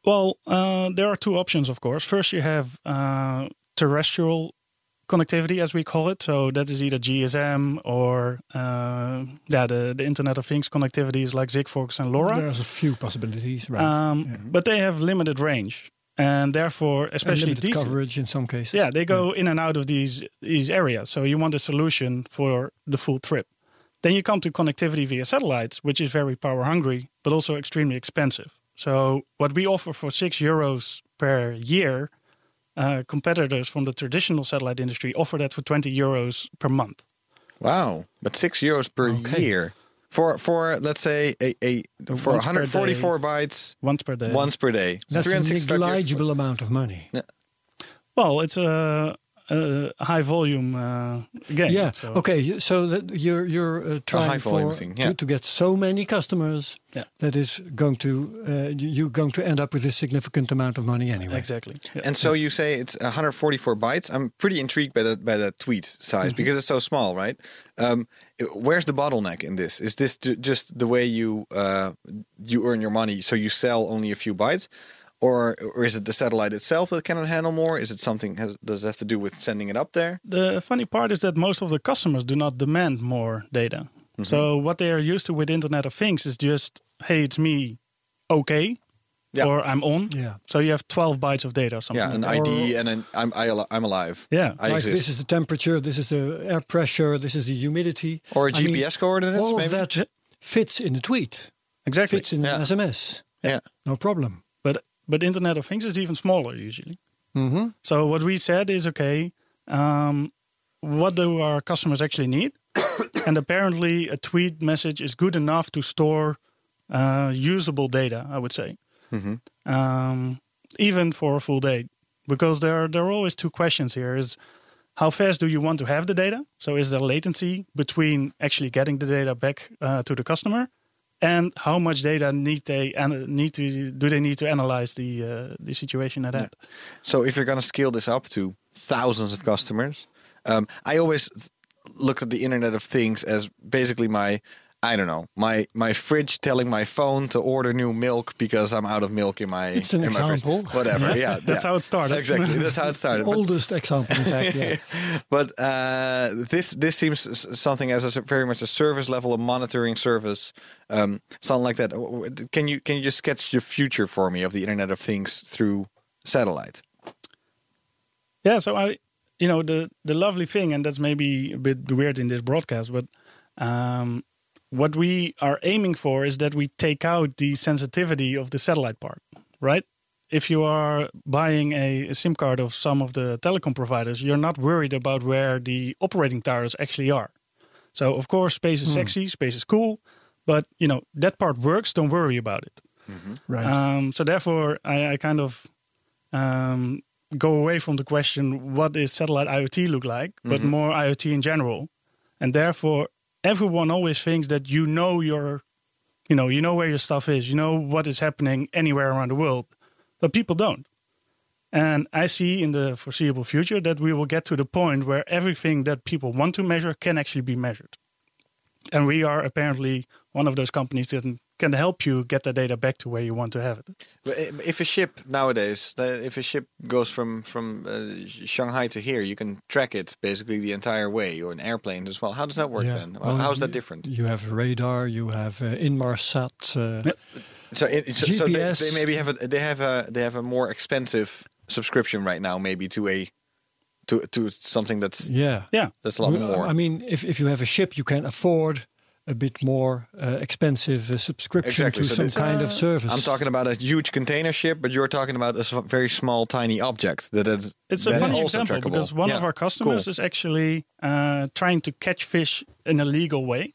Speaker 3: Well, uh, there are two options, of course. First, you have uh, terrestrial connectivity, as we call it. So that is either GSM or uh, yeah, the, the Internet of Things connectivities like Sigfox and LoRa.
Speaker 1: There's a few possibilities, right?
Speaker 3: Um, But they have limited range, and therefore,
Speaker 1: and
Speaker 3: especially
Speaker 1: limited
Speaker 3: these
Speaker 1: coverage in some cases.
Speaker 3: Yeah, they go in and out of these these areas. So you want a solution for the full trip. Then you come to connectivity via satellites, which is very power hungry, but also extremely expensive. So what we offer for six euros per year, uh, competitors from the traditional satellite industry offer that for twenty euros per month.
Speaker 2: Wow, but six euros per year for for let's say a, a for
Speaker 3: Once per
Speaker 2: 144 bytes
Speaker 3: Once per day.
Speaker 2: once per day.
Speaker 1: That's a
Speaker 2: 365 euros.
Speaker 1: negligible amount of money.
Speaker 3: Well, it's a, a high volume uh,
Speaker 1: [LAUGHS]
Speaker 3: game.
Speaker 1: Yeah.
Speaker 3: so-
Speaker 1: Okay. y- So that you're you're uh, trying
Speaker 2: volume
Speaker 1: for
Speaker 2: thing,
Speaker 1: to,
Speaker 2: yeah.
Speaker 1: to get so many customers
Speaker 3: Yeah.
Speaker 1: that is going to uh, you- you're going to end up with a significant amount of money anyway.
Speaker 3: Exactly. Yeah.
Speaker 2: And so you say it's 144 bytes. I'm pretty intrigued by that by that tweet size
Speaker 3: Mm-hmm.
Speaker 2: because it's so small, right? Um, it- where's the bottleneck in this? Is this ju- just the way you uh, you earn your money? So you sell only a few bytes, or or is it the satellite itself that cannot handle more? Is it something has, does it have to do with sending it up there?
Speaker 3: the funny part is that most of the customers do not demand more data.
Speaker 2: Mm-hmm.
Speaker 3: So what they are used to with Internet of Things is just, hey, it's me, okay,
Speaker 2: Yeah.
Speaker 3: or I'm on.
Speaker 1: Yeah.
Speaker 3: So you have 12 bytes of data or something.
Speaker 2: Yeah, an
Speaker 3: like
Speaker 2: ID and an I'm I, al- I'm alive.
Speaker 3: Yeah.
Speaker 2: I
Speaker 1: like
Speaker 2: exist.
Speaker 1: this is the temperature, this is the air pressure, this is the humidity,
Speaker 2: or a
Speaker 1: I mean,
Speaker 2: GPS coordinates,
Speaker 1: All
Speaker 2: maybe.
Speaker 1: of that fits in a tweet,
Speaker 3: that. Exactly.
Speaker 1: fits in
Speaker 2: Yeah.
Speaker 1: an SMS,
Speaker 2: yeah.
Speaker 1: no problem.
Speaker 3: But but Internet of Things is even smaller usually.
Speaker 1: hmm
Speaker 3: So what we said is, okay, um, what do our customers actually
Speaker 2: [COUGHS]
Speaker 3: need? and apparently, a tweet message is good enough to store uh, usable data. I would say, um, even for a full day, because there are, there are always two questions here: is how fast do you want to have the data? So is there latency between actually getting the data back uh, to the customer? And how much data need they and need to do they need to analyze the uh, the situation at hand?
Speaker 2: So if you're going to scale this up to thousands of customers, um, I always th- looked at the Internet of Things as basically my I don't know my my fridge telling my phone to order new milk because I'm out of milk in my
Speaker 1: It's an
Speaker 2: in my fridge.
Speaker 1: example.
Speaker 2: Whatever,
Speaker 3: [LAUGHS]
Speaker 2: yeah,
Speaker 3: That's
Speaker 2: yeah.
Speaker 3: how it started.
Speaker 2: Exactly, that's
Speaker 3: [LAUGHS]
Speaker 2: how it started. But-
Speaker 1: Oldest example, in fact.
Speaker 2: [LAUGHS]
Speaker 1: Yeah.
Speaker 2: but uh, this this seems s- s- something as a, s- very much a service level, a monitoring service, um, something like that. W- w- Can you can you just sketch the future for me of the Internet of Things through satellite?
Speaker 3: Yeah, so I, you know, the the lovely thing, and that's maybe a bit weird in this broadcast, but um, what we are aiming for is that we take out the sensitivity of the satellite part, right? If you are buying a, a SIM card of some of the telecom providers, you're not worried about where the operating towers actually are. So of course, space is sexy, space is cool, but you know that part works. Don't worry about it.
Speaker 1: Right.
Speaker 3: Um, so therefore, I, I kind of um, go away from the question what is satellite IoT look like, but more IoT in general. And therefore, everyone always thinks that you know your, you know, you know where your stuff is, you know what is happening anywhere around the world, but people don't. And I see in the foreseeable future that we will get to the point where everything that people want to measure can actually be measured. And we are apparently one of those companies that can help you get the data back to where you want to have it.
Speaker 2: But i- If a ship nowadays, the- if a ship goes from from uh, Sh- Shanghai to here, you can track it basically the entire way, or an airplane as well. How does that work
Speaker 1: Yeah.
Speaker 2: then?
Speaker 1: Well,
Speaker 2: How's that
Speaker 1: you-
Speaker 2: different?
Speaker 1: You have radar, you have uh, Inmarsat. Uh,
Speaker 2: So, it, so, so they,
Speaker 1: GPS.
Speaker 2: they maybe have a they have a they have a more expensive subscription right now, maybe to a to to something that's
Speaker 1: yeah.
Speaker 3: Yeah.
Speaker 2: that's a lot
Speaker 1: Well,
Speaker 2: more.
Speaker 1: I mean, if, if you have a ship, you can afford a bit more uh, expensive uh, subscription
Speaker 2: Exactly,
Speaker 1: to
Speaker 2: so
Speaker 1: some
Speaker 2: this-
Speaker 1: kind
Speaker 3: Uh,
Speaker 1: of service.
Speaker 2: I'm talking about a huge container ship, but you're talking about a s- very small, tiny object that is
Speaker 3: It's a
Speaker 2: that also
Speaker 3: funny example
Speaker 2: trackable.
Speaker 3: because one
Speaker 2: Yeah,
Speaker 3: of our customers
Speaker 2: cool.
Speaker 3: is actually uh, trying to catch fish in a legal way.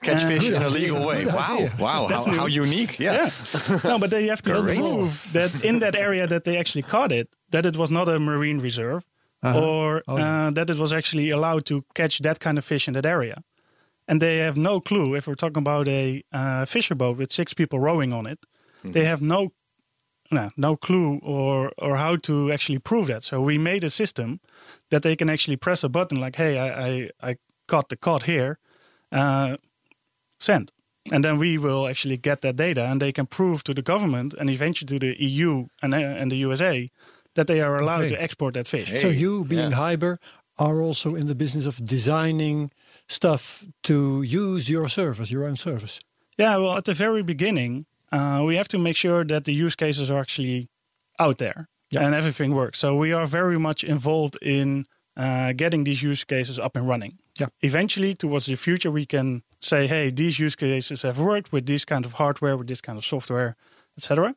Speaker 2: catch
Speaker 3: uh,
Speaker 2: fish
Speaker 3: Good
Speaker 2: in a
Speaker 1: idea, [LAUGHS]
Speaker 2: legal way.
Speaker 1: good
Speaker 2: Wow,
Speaker 1: idea.
Speaker 2: wow, how, how unique! Yeah.
Speaker 3: [LAUGHS] no, but they have to
Speaker 2: Great.
Speaker 3: prove that in that area that they actually caught it, that it was not a marine reserve
Speaker 2: Uh-huh.
Speaker 3: or
Speaker 2: Oh,
Speaker 3: uh, that it was actually allowed to catch that kind of fish in that area. And they have no clue if we're talking about a uh, fisher boat with six people rowing on it.
Speaker 2: Mm-hmm.
Speaker 3: They have no no, no clue or or how to actually prove that. So we made a system that they can actually press a button like, "Hey, I I, I caught the cod here, uh, send," and then we will actually get that data, and they can prove to the government and eventually to the EU and uh, and the USA that they are allowed
Speaker 1: Okay.
Speaker 3: to export that fish.
Speaker 1: so you, being Hyber, are also in the business of designing stuff to use your service, your own service.
Speaker 3: Yeah, well, at the very beginning, uh, we have to make sure that the use cases are actually out there and everything works. So we are very much involved in uh, getting these use cases up and running.
Speaker 1: Yeah.
Speaker 3: Eventually, towards the future, we can say, "Hey, these use cases have worked with this kind of hardware, with this kind of software, etc."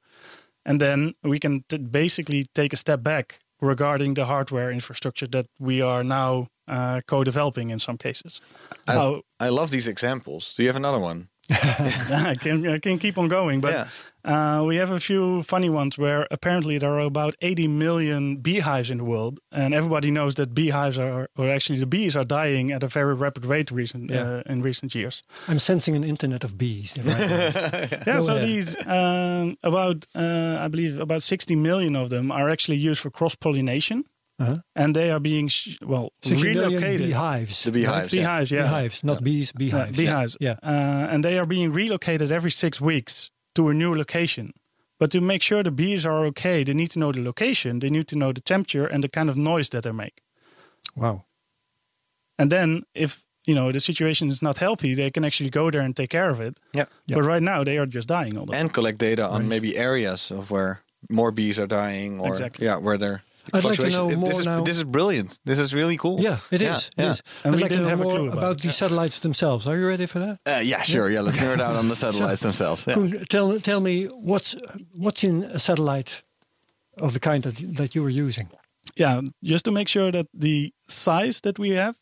Speaker 3: And then we can t- basically take a step back regarding the hardware infrastructure that we are now uh, co-developing in some cases. How-
Speaker 2: I love these examples. Do you have another one?
Speaker 3: [LAUGHS] I can I can keep on going, but
Speaker 2: Yeah.
Speaker 3: uh, we have a few funny ones where apparently there are about 80 million beehives in the world, and everybody knows that beehives are, or actually the bees are dying at a very rapid rate recent uh, in recent years.
Speaker 1: I'm sensing an internet of bees. Right?
Speaker 2: [LAUGHS]
Speaker 3: Yeah, so
Speaker 1: ahead.
Speaker 3: these um, about uh, I believe about 60 million of them are actually used for cross pollination,
Speaker 1: Uh-huh.
Speaker 3: and they are being sh- well
Speaker 1: 60 million
Speaker 3: relocated.
Speaker 1: beehives.
Speaker 2: The beehives. yeah.
Speaker 3: Beehives, yeah.
Speaker 1: Beehives, not bees, beehives.
Speaker 3: Yeah, beehives.
Speaker 1: Yeah.
Speaker 3: Uh, and they are being relocated every six weeks to a new location. But to make sure the bees are okay, they need to know the location, they need to know the temperature and the kind of noise that they make.
Speaker 1: Wow.
Speaker 3: And then if you know the situation is not healthy, they can actually go there and take care of it.
Speaker 2: Yeah.
Speaker 3: But right now they are just dying all the time.
Speaker 2: and collect data on maybe areas of where more bees are dying or
Speaker 3: Exactly.
Speaker 2: yeah where they're
Speaker 1: I'd like to
Speaker 2: fluctuations.
Speaker 1: know
Speaker 2: It-
Speaker 1: more
Speaker 2: this, is,
Speaker 1: now.
Speaker 2: this is brilliant this is really cool
Speaker 1: Yeah, it is. It
Speaker 2: yeah.
Speaker 1: is.
Speaker 3: And
Speaker 1: I'd
Speaker 3: we
Speaker 1: like to
Speaker 3: didn't
Speaker 1: know
Speaker 3: have a
Speaker 1: more
Speaker 3: clue
Speaker 1: about,
Speaker 3: about it,
Speaker 1: the satellites themselves. Are you ready for that?
Speaker 2: Uh, yeah sure yeah let's nerd out on the
Speaker 1: [LAUGHS]
Speaker 2: satellites themselves yeah.
Speaker 1: Koen, tell tell me what's what's in a satellite of the kind that that you were using.
Speaker 3: Yeah, just to make sure that the size that we have,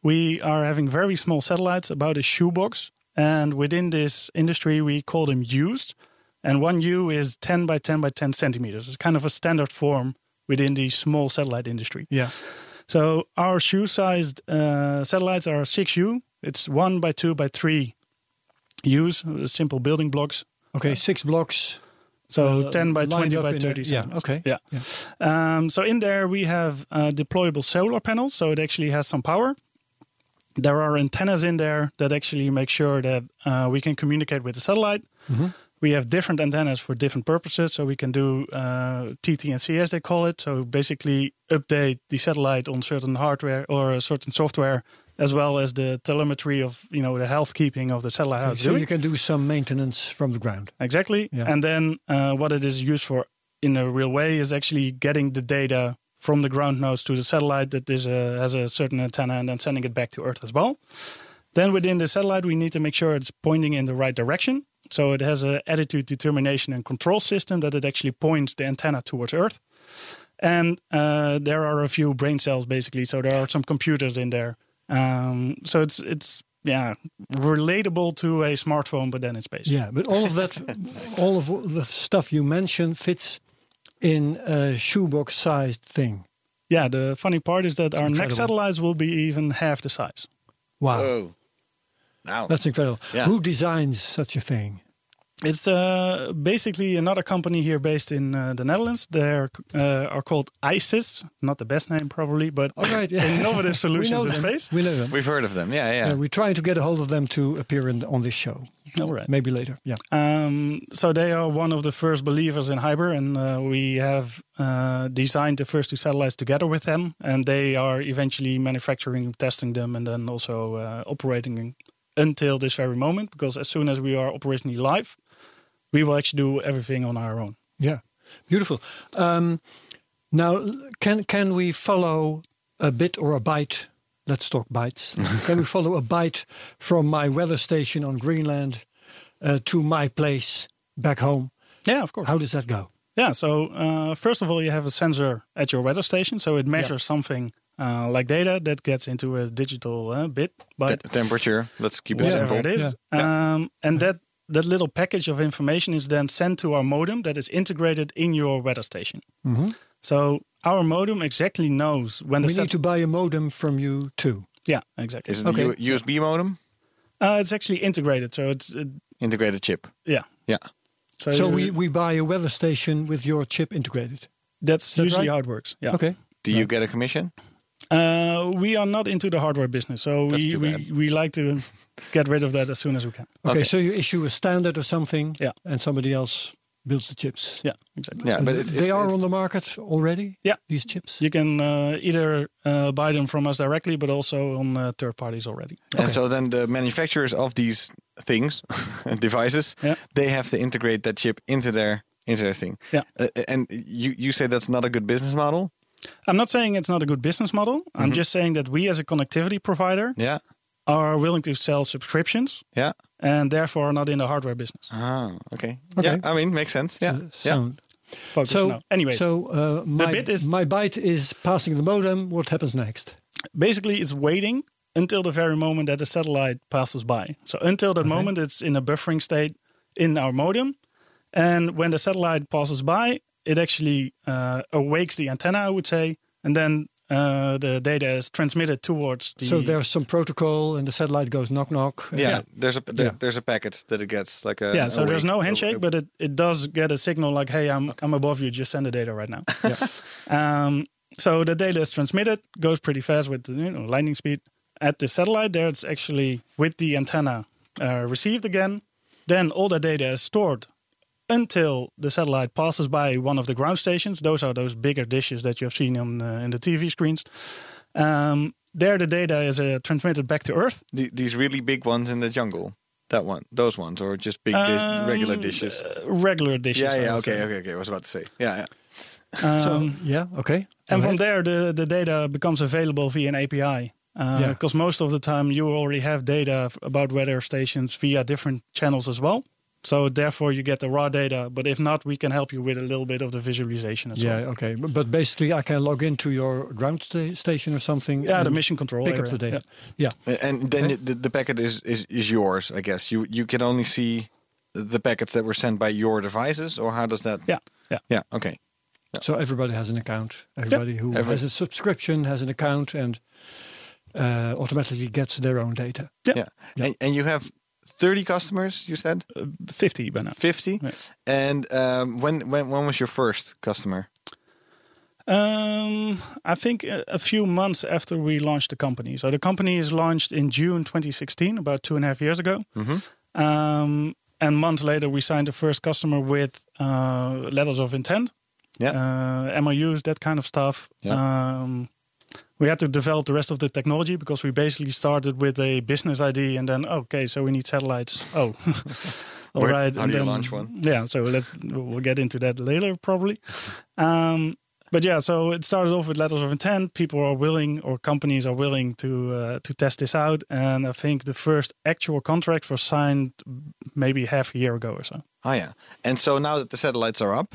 Speaker 3: we are having very small satellites, about a shoebox. And within this industry, we call them used. And one U is 10 by 10 by 10 centimeters. It's kind of a standard form within the small satellite industry.
Speaker 1: Yeah.
Speaker 3: So our shoe sized uh, satellites are 6U, it's 1 by 2 by 3 U's, uh, simple building blocks.
Speaker 1: Okay, six blocks.
Speaker 3: So
Speaker 1: uh,
Speaker 3: 10 by
Speaker 1: lined
Speaker 3: 20
Speaker 1: up
Speaker 3: by
Speaker 1: in a-
Speaker 3: 30
Speaker 1: yeah,
Speaker 3: centimeters.
Speaker 1: okay.
Speaker 3: Yeah. Um, so in there we have uh, deployable solar panels, so it actually has some power. there are antennas in there that actually make sure that uh, we can communicate with the satellite.
Speaker 1: Mm-hmm.
Speaker 3: We have different antennas for different purposes, so we can do uh, TTNC as they call it. So basically, update the satellite on certain hardware or a certain software, as well as the telemetry of you know the health keeping of the satellite. how it's
Speaker 1: so
Speaker 3: doing.
Speaker 1: you can do some maintenance from the ground.
Speaker 3: Exactly.
Speaker 1: Yeah.
Speaker 3: And then uh, what it is used for in a real way is actually getting the data from the ground nodes to the satellite that is a, has a certain antenna and then sending it back to Earth as well. Then within the satellite, we need to make sure it's pointing in the right direction. So it has a attitude determination and control system that it actually points the antenna towards Earth. And uh, there are a few brain cells basically, so there are some computers in there. Um, so it's it's yeah relatable to a smartphone, but then in space.
Speaker 1: Yeah, but all of that, [LAUGHS] all of the stuff you mentioned fits in a shoebox-sized thing.
Speaker 3: Yeah, the funny part is that our
Speaker 1: incredible.
Speaker 3: next satellites will be even half the size.
Speaker 1: Wow,
Speaker 2: Oh, now
Speaker 1: that's incredible.
Speaker 2: Yeah.
Speaker 1: Who designs such a thing?
Speaker 3: It's uh, basically another company here based in uh, the Netherlands. They uh, are called ISIS. Not the best name, probably, but
Speaker 1: All right, yeah.
Speaker 3: [LAUGHS] innovative
Speaker 1: [LAUGHS]
Speaker 3: solutions
Speaker 1: we
Speaker 3: in
Speaker 1: know them.
Speaker 3: space.
Speaker 1: We know them.
Speaker 2: we've heard of them. Yeah, yeah.
Speaker 1: Yeah, we're trying to get a hold of them to appear in, on this show.
Speaker 3: All right.
Speaker 1: Maybe later. Yeah.
Speaker 3: Um, so they are one of the first believers in Hyber, and uh, we have uh, designed the first two satellites together with them. And they are eventually manufacturing, testing them, and then also uh, operating until this very moment. Because as soon as we are operationally live, we will actually do everything on our own.
Speaker 1: Yeah. Beautiful. Um, now, l- can can we follow a bit or a byte? Let's talk
Speaker 2: [LAUGHS]
Speaker 1: bytes. can we follow a byte from my weather station on Greenland uh, to my place back home?
Speaker 3: Yeah, of course.
Speaker 1: How does that go?
Speaker 3: Yeah, so uh, first of all, you have a sensor at your weather station, so it measures something uh, like data that gets into a digital uh, bit.
Speaker 2: Te-
Speaker 3: But
Speaker 2: temperature. Let's keep it
Speaker 3: whatever
Speaker 2: simple.
Speaker 3: it is. Um, and that that little package of information is then sent to our modem that is integrated in your weather station. So our modem exactly knows when the
Speaker 1: Mm-hmm. We need
Speaker 3: sat-
Speaker 1: to buy a modem from you too.
Speaker 3: yeah exactly.
Speaker 2: Is it
Speaker 1: Okay.
Speaker 2: U- USB modem?
Speaker 3: Uh, it's actually integrated, so it's uh,
Speaker 2: Integrated chip.
Speaker 3: yeah.
Speaker 2: Yeah.
Speaker 1: So
Speaker 3: you-
Speaker 1: we,
Speaker 2: Uh,
Speaker 1: we buy a weather station with your chip integrated.
Speaker 3: that's
Speaker 1: that
Speaker 3: usually
Speaker 1: right?
Speaker 3: how it works. Yeah.
Speaker 1: Okay.
Speaker 2: Do you get a commission?
Speaker 3: Uh, we are not into the hardware business, so
Speaker 2: That's
Speaker 3: we,
Speaker 2: too
Speaker 3: we
Speaker 2: bad.
Speaker 3: we like to get rid of that as soon as we can.
Speaker 1: okay.
Speaker 2: Okay.
Speaker 1: So you issue a standard or something,
Speaker 3: Yeah.
Speaker 1: and somebody else builds the chips.
Speaker 3: Yeah, exactly.
Speaker 2: Yeah, but
Speaker 1: Th-
Speaker 2: it's,
Speaker 1: they
Speaker 2: it's-
Speaker 1: are
Speaker 2: it's-
Speaker 1: on the market already.
Speaker 3: Yeah.
Speaker 1: these chips.
Speaker 3: You can uh, either uh, buy them from us directly, but also on uh, third parties already.
Speaker 2: And so then the manufacturers of these things, [LAUGHS] devices,
Speaker 3: Yeah.
Speaker 2: they have to integrate that chip into their into their thing.
Speaker 3: Yeah.
Speaker 2: Uh, and you you say that's not a good business model.
Speaker 3: I'm not saying it's not a good business model. I'm just saying that we, as a connectivity provider,
Speaker 2: Yeah.
Speaker 3: are willing to sell subscriptions
Speaker 2: Yeah.
Speaker 3: and therefore are not in the hardware business.
Speaker 2: Ah. Okay.
Speaker 1: Okay.
Speaker 2: Yeah. I mean, makes sense. Yeah. yeah.
Speaker 1: Sound.
Speaker 3: Focus
Speaker 1: So
Speaker 3: now. Anyway,
Speaker 1: so uh, my
Speaker 3: bit is-
Speaker 1: my byte is passing the modem. What happens next?
Speaker 3: basically, it's waiting until the very moment that the satellite passes by. So until that moment, it's in a buffering state in our modem, and when the satellite passes by, it actually uh, awakes the antenna, I would say, and then uh, the data is transmitted towards the.
Speaker 1: so there's some protocol, and the satellite goes knock knock.
Speaker 2: Yeah, there's a there,
Speaker 1: Yeah.
Speaker 2: there's a packet that it gets like a
Speaker 3: yeah, so
Speaker 2: a
Speaker 3: there's
Speaker 2: wave-
Speaker 3: no
Speaker 2: a-
Speaker 3: handshake,
Speaker 2: a-
Speaker 3: but it, it does get a signal like, hey, I'm, I'm above you, just send the data right
Speaker 2: [LAUGHS]
Speaker 3: now. um, so the data is transmitted, goes pretty fast with you know, lightning speed. At the satellite, there it's actually with the antenna uh, received again. Then all the data is stored until the satellite passes by one of the ground stations. Those are those bigger dishes that you have seen on uh, in the TV screens. Um, there, the data is uh, transmitted back to Earth.
Speaker 2: the- these really big ones in the jungle. That one, those ones, or just big dish, regular dishes.
Speaker 3: Um, Uh, regular dishes.
Speaker 2: yeah,
Speaker 3: I
Speaker 2: yeah,
Speaker 3: would
Speaker 2: okay,
Speaker 3: say. Um,
Speaker 2: okay, okay. I was about to say, yeah, yeah.
Speaker 1: So yeah, okay.
Speaker 3: And
Speaker 1: All
Speaker 3: from
Speaker 1: right.
Speaker 3: there, the, the data becomes available via an API.
Speaker 1: Yeah.
Speaker 3: Because Uh, most of the time, you already have data f- about weather stations via different channels as well. So therefore, you get the raw data. But if not, we can help you with a little bit of the visualization as well.
Speaker 1: yeah, okay. But, but basically, I can log into your ground sta- station or something.
Speaker 3: Yeah, the
Speaker 1: and
Speaker 3: mission control.
Speaker 1: Pick up
Speaker 3: area.
Speaker 1: the data. Yeah.
Speaker 2: And then the, the packet is, is is yours, I guess. You you can only see the packets that were sent by your devices, or how does that?
Speaker 3: Yeah, yeah.
Speaker 2: yeah. Okay.
Speaker 1: So everybody has an account. Everybody who
Speaker 2: Every-
Speaker 1: has a subscription has an account and uh, automatically gets their own data.
Speaker 3: Yeah.
Speaker 2: Yeah. And, and you have thirty customers. You said
Speaker 3: Uh, 50 by now.
Speaker 2: fifty.
Speaker 3: Yeah.
Speaker 2: And um, when when when was your first customer?
Speaker 3: Um, I think a, a few months after we launched the company. So the company is launched in June 2016, about two and a half years ago.
Speaker 1: Mm-hmm.
Speaker 3: Um, and months later, we signed the first customer with uh, letters of intent,
Speaker 2: Yeah.
Speaker 3: uh, MOUs, that kind of stuff. Um, we had to develop the rest of the technology because we basically started with a business idea and then okay, so we need satellites. Oh, [LAUGHS] all
Speaker 2: [LAUGHS] Where-
Speaker 3: right.
Speaker 2: how
Speaker 3: and
Speaker 2: do you
Speaker 3: then-
Speaker 2: launch one?
Speaker 3: Yeah, so let's we'll get into that later probably. Um, but yeah, so it started off with letters of intent. People are willing, or companies are willing, to uh, to test this out. And I think the first actual contracts were signed maybe half a year ago or so.
Speaker 2: oh yeah. And so now that the satellites are up,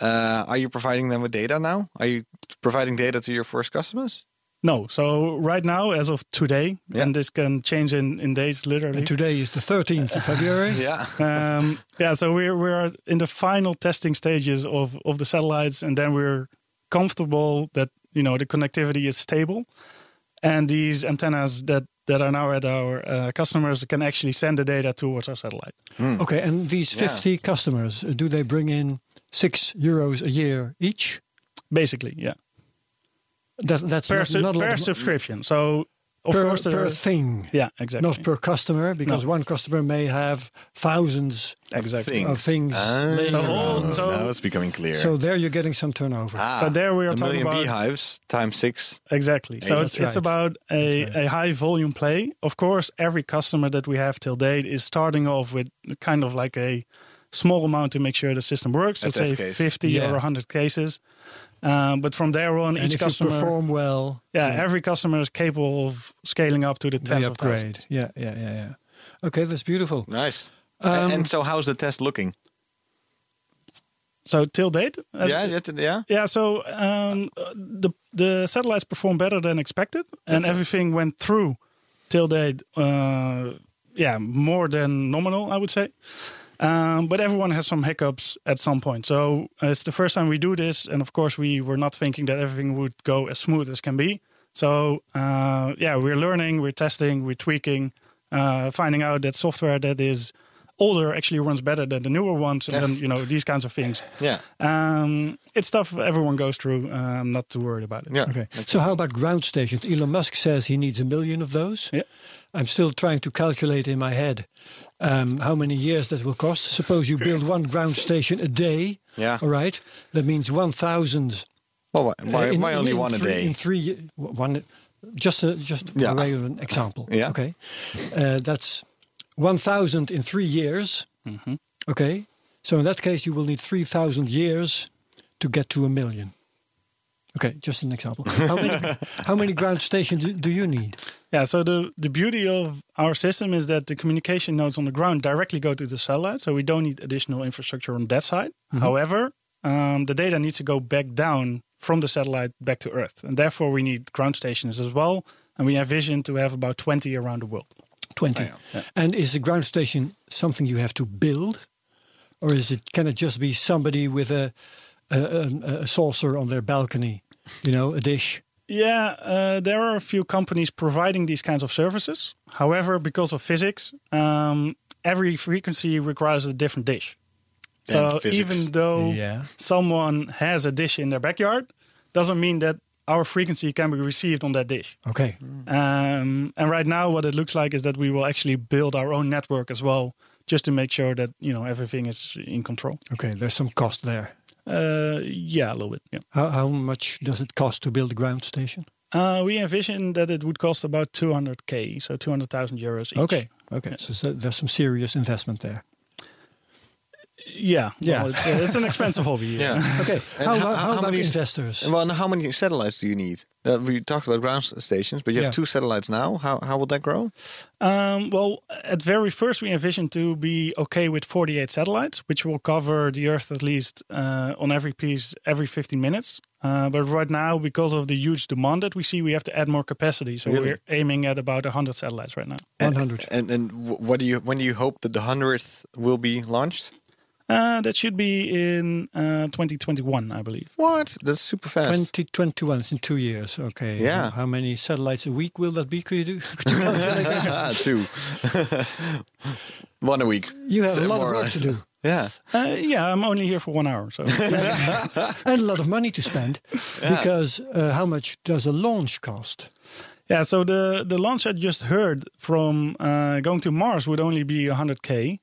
Speaker 2: uh, are you providing them with data now? Are you providing data to your first customers?
Speaker 3: No, so right now, as of today,
Speaker 2: Yeah.
Speaker 3: and this can change in, in days, literally.
Speaker 1: And today is the 13th of
Speaker 3: [LAUGHS]
Speaker 1: February. [LAUGHS]
Speaker 2: Yeah.
Speaker 3: um, yeah, so we're we're in the final testing stages of of the satellites, and then we're comfortable that you know the connectivity is stable, and these antennas that that are now at our uh, customers can actually send the data towards our satellite.
Speaker 1: Okay, and these
Speaker 2: Yeah.
Speaker 1: 50 customers, uh, do they bring in 6 euros a year each?
Speaker 3: Basically, yeah,
Speaker 1: That's, that's
Speaker 3: per,
Speaker 1: not,
Speaker 3: su-
Speaker 1: not a lot
Speaker 3: per
Speaker 1: of mo-
Speaker 3: subscription. So of
Speaker 1: per,
Speaker 3: course, there
Speaker 1: per
Speaker 3: are-
Speaker 1: thing,
Speaker 3: yeah, exactly,
Speaker 1: not per customer, because one customer may have thousands
Speaker 3: exactly.
Speaker 2: Thing.
Speaker 1: of things.
Speaker 2: Ah,
Speaker 3: So all- so-
Speaker 2: now it's becoming clear.
Speaker 1: So there you're getting some turnover.
Speaker 2: ah,
Speaker 3: so there we are
Speaker 2: a
Speaker 3: talking
Speaker 2: million
Speaker 3: about-
Speaker 2: beehives times six.
Speaker 3: Exactly. So it's,
Speaker 1: That's
Speaker 3: it's
Speaker 1: right.
Speaker 3: about a, a high volume play. Of course, every customer that we have till date is starting off with kind of like a small amount to make sure the system works.
Speaker 2: A
Speaker 3: Let's
Speaker 2: test
Speaker 3: say
Speaker 2: case.
Speaker 3: 50
Speaker 1: Yeah.
Speaker 3: or 100 cases. Um, but from there on,
Speaker 1: and
Speaker 3: each
Speaker 1: if
Speaker 3: customer,
Speaker 1: you perform well,
Speaker 3: yeah, every customer is capable of scaling up to the
Speaker 1: they
Speaker 3: tens of thousands.
Speaker 1: upgrade. Yeah, yeah, yeah, yeah. Okay, that's beautiful.
Speaker 2: Nice.
Speaker 1: Um,
Speaker 2: A- and so, how's the test looking?
Speaker 3: So till date, as-
Speaker 2: yeah, that's, yeah.
Speaker 3: Yeah, so um, uh, the the satellites performed better than expected, and everything went through till they, uh, yeah, more than nominal, I would say. Um, but everyone has some hiccups at some point. So uh, it's the first time we do this, and of course we were not thinking that everything would go as smooth as can be. So uh, yeah, we're learning, we're testing, we're tweaking, uh, finding out that software that is older actually runs better than the newer ones, and then you know these kinds of things.
Speaker 2: Yeah.
Speaker 3: Um, it's stuff everyone goes through. Uh, I'm not too worried about it.
Speaker 2: Yeah.
Speaker 1: Okay. So how about ground stations? Elon Musk says he needs a million of those.
Speaker 3: Yeah.
Speaker 1: I'm still trying to calculate in my head um, how many years that will cost. Suppose you build one ground station a day.
Speaker 2: Yeah.
Speaker 1: All right. That means 1,000.
Speaker 2: Well, why,
Speaker 1: uh,
Speaker 2: why,
Speaker 1: in-
Speaker 2: why
Speaker 1: in-
Speaker 2: only
Speaker 1: in
Speaker 2: one
Speaker 1: three,
Speaker 2: a day?
Speaker 1: In three, ye- one, just a, just
Speaker 2: Yeah.
Speaker 1: a way of an example.
Speaker 2: Yeah.
Speaker 1: Okay. Uh, that's 1,000 in three years. Okay. So in that case, you will need 3,000 years to get to a million. Okay, just an
Speaker 2: [LAUGHS]
Speaker 1: example. How many, how many ground stations do, do you need?
Speaker 3: Yeah. So the the beauty of our system is that the communication nodes on the ground directly go to the satellite, so we don't need additional infrastructure on that side. However, um, the data needs to go back down from the satellite back to Earth, and therefore we need ground stations as well. And we envision to have about 20 around the world.
Speaker 1: 20. And is a ground station something you have to build? Or is it can it just be somebody with a, a, um, a, a saucer on their balcony, you know, a dish?
Speaker 3: Yeah, uh, there are a few companies providing these kinds of services. However, because of physics, um, every frequency requires a different dish.
Speaker 2: And
Speaker 3: so
Speaker 2: physics.
Speaker 3: even though
Speaker 1: Yeah.
Speaker 3: someone has a dish in their backyard, doesn't mean that our frequency can be received on that dish.
Speaker 1: Okay.
Speaker 2: Mm.
Speaker 3: Um, and right now, what it looks like is that we will actually build our own network as well, just to make sure that you know everything is in control.
Speaker 1: Okay, there's some cost there.
Speaker 3: Uh, yeah, a little bit. Yeah.
Speaker 1: How, how much does it cost to build a ground station?
Speaker 3: Uh, we envision that it would cost about 200k, so 200,000 euros each.
Speaker 1: Okay. Okay, so, so there's some serious investment there.
Speaker 3: Yeah.
Speaker 1: Yeah.
Speaker 3: Well, it's, uh, it's an expensive hobby. Yeah.
Speaker 2: [LAUGHS]
Speaker 1: [LAUGHS]
Speaker 2: yeah.
Speaker 1: Okay,
Speaker 2: And
Speaker 1: how,
Speaker 2: ho-
Speaker 1: how,
Speaker 2: how
Speaker 1: how about
Speaker 2: many-
Speaker 1: investors?
Speaker 2: Well, and how many satellites do you need? Uh, we talked about ground s- stations, but you have
Speaker 1: Yeah.
Speaker 2: two satellites now. How how will that grow?
Speaker 3: Um, well, at very first, we envisioned to be okay with 48 satellites, which will cover the Earth at least uh, on every piece every 15 minutes. Uh, but right now, because of the huge demand that we see, we have to add more capacity. So
Speaker 2: Really?
Speaker 3: we're aiming at about 100 satellites right now.
Speaker 1: 100.
Speaker 2: And and wh- what do you when do you hope that the hundredth will be launched?
Speaker 3: Uh, that should be in uh, 2021, I believe.
Speaker 2: What? That's super fast.
Speaker 1: 2021, it's in two years. Okay.
Speaker 2: Yeah.
Speaker 1: How, how many satellites a week will that be? Could you do? [LAUGHS] could
Speaker 2: [LAUGHS]
Speaker 1: you calculate that?
Speaker 2: Ah, two. [LAUGHS] One a week.
Speaker 1: You have
Speaker 2: So
Speaker 1: a lot
Speaker 2: more
Speaker 1: of
Speaker 2: or
Speaker 1: work to
Speaker 2: less.
Speaker 1: do.
Speaker 2: Yeah.
Speaker 3: Uh, yeah, I'm only here for one hour, so
Speaker 2: [LAUGHS]
Speaker 1: and a lot of money to spend because uh, how much does a launch cost?
Speaker 3: yeah. So the the launch I just heard from uh, going to Mars would only be 100k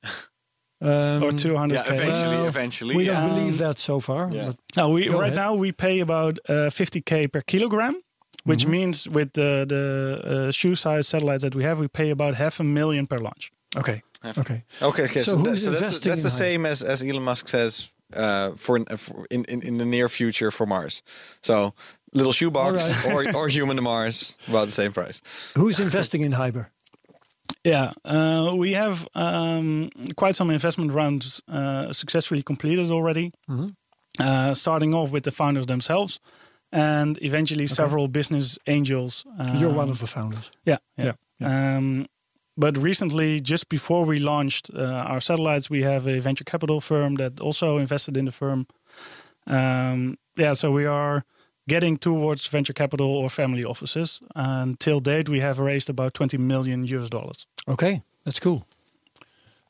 Speaker 1: Um,
Speaker 3: or 200k.
Speaker 2: Yeah, eventually,
Speaker 1: Well,
Speaker 2: eventually.
Speaker 1: we
Speaker 2: yeah.
Speaker 1: don't believe that so far.
Speaker 2: Yeah.
Speaker 1: but-
Speaker 3: No, we
Speaker 1: Go
Speaker 3: right
Speaker 1: ahead.
Speaker 3: Uh, now we pay about uh, 50k per kilogram, which
Speaker 1: Mm-hmm.
Speaker 3: means with the the uh, shoe size satellites that we have, we pay about half a million per launch.
Speaker 1: okay. Okay.
Speaker 2: Okay, okay. So,
Speaker 1: So
Speaker 2: that-
Speaker 1: who's
Speaker 2: so that's,
Speaker 1: investing
Speaker 2: that's
Speaker 1: in
Speaker 2: the
Speaker 1: Hive?
Speaker 2: same as, as Elon Musk says uh, for, for in, in in the near future for Mars. So little shoebox or or human to Mars, about the same price.
Speaker 1: Who's investing in Hyber?
Speaker 3: Yeah, uh, we have um, quite some investment rounds uh, successfully completed already,
Speaker 1: Mm-hmm.
Speaker 3: uh, starting off with the founders themselves, and eventually several business angels. Um,
Speaker 1: You're one of the founders.
Speaker 3: Yeah, yeah. Um, but recently, just before we launched uh, our satellites, we have a venture capital firm that also invested in the firm. Um, yeah, so we are getting towards venture capital or family offices. And till date, we have raised about 20 million US dollars.
Speaker 1: Okay, that's cool.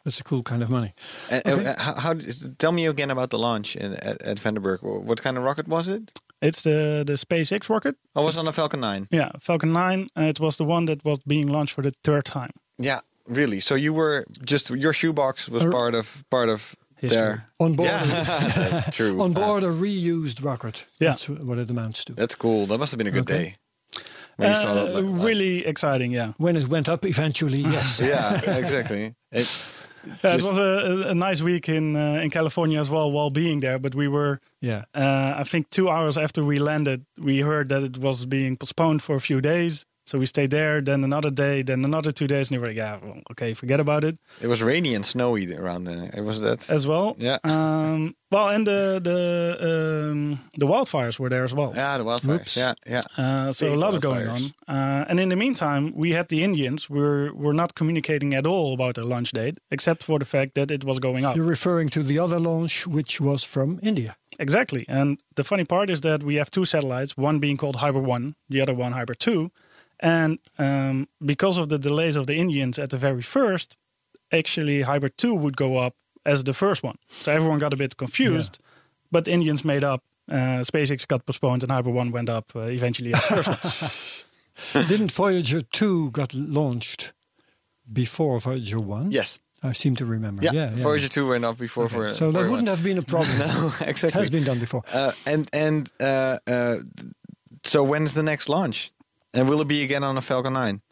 Speaker 1: That's a cool kind of money.
Speaker 2: And, and how, how? Tell me again about the launch in, at, at Vandenberg. What kind of rocket was it?
Speaker 3: It's the, the SpaceX rocket.
Speaker 2: Oh, it was on a Falcon Nine.
Speaker 3: Yeah, Falcon 9. Uh, it was the one that was being launched for the third time.
Speaker 2: Yeah, really. So you were just your shoebox was part of part of
Speaker 3: History.
Speaker 2: their
Speaker 1: Uh, On board,
Speaker 2: yeah. [LAUGHS] True.
Speaker 1: [LAUGHS]
Speaker 2: Uh,
Speaker 1: on board a reused rocket.
Speaker 3: Yeah.
Speaker 1: That's what it amounts to.
Speaker 2: That's cool. That must have been a good
Speaker 1: Okay.
Speaker 2: day. When you saw that
Speaker 3: Uh,
Speaker 2: like, last-
Speaker 3: really exciting, yeah.
Speaker 1: When it went up
Speaker 2: [LAUGHS]
Speaker 1: eventually, yes.
Speaker 2: Yeah, exactly.
Speaker 1: [LAUGHS]
Speaker 2: It,
Speaker 3: Yeah,
Speaker 2: just-
Speaker 3: it was a, a- a nice week in uh, in California as well while being there, but we were
Speaker 1: Yeah.
Speaker 3: Uh, I think two hours after we landed, we heard that it was being postponed for a few days. So we stayed there, then another day, then another two days, and we were like, yeah, well, okay, forget about it
Speaker 2: It was rainy and snowy around then. It was that.
Speaker 3: as well.
Speaker 2: Yeah.
Speaker 3: Um, well, and the the um, the wildfires were there as well.
Speaker 2: yeah, the wildfires.
Speaker 1: Oops.
Speaker 2: Yeah, yeah.
Speaker 3: Uh, so
Speaker 2: Big
Speaker 3: a lot of going on.
Speaker 2: wildfires.
Speaker 3: Uh, and in the meantime, we had the Indians. We were, were not communicating at all about their launch date, except for the fact that it was going up.
Speaker 1: You're referring to the other launch, which was from India.
Speaker 3: Exactly. And the funny part is that we have two satellites, one being called Hyper 1, the other one Hyper 2. And um, because of the delays of the Indians at the very first, actually Hyper 2 would go up as the first one. So everyone got a bit confused, but the Indians made up. Uh, SpaceX got postponed and Hyper 1 went up uh, eventually as first. one.
Speaker 1: Didn't Voyager 2 got launched before Voyager 1?
Speaker 2: Yes.
Speaker 1: I seem to remember.
Speaker 2: Yeah.
Speaker 1: Yeah. yeah.
Speaker 2: Voyager two went up before for.
Speaker 1: So that
Speaker 2: for
Speaker 1: wouldn't have been a problem.
Speaker 2: [LAUGHS] No, exactly.
Speaker 1: It has been done before.
Speaker 2: Uh, and and uh, uh, so when's the next launch? And will it be again on a Falcon Nine?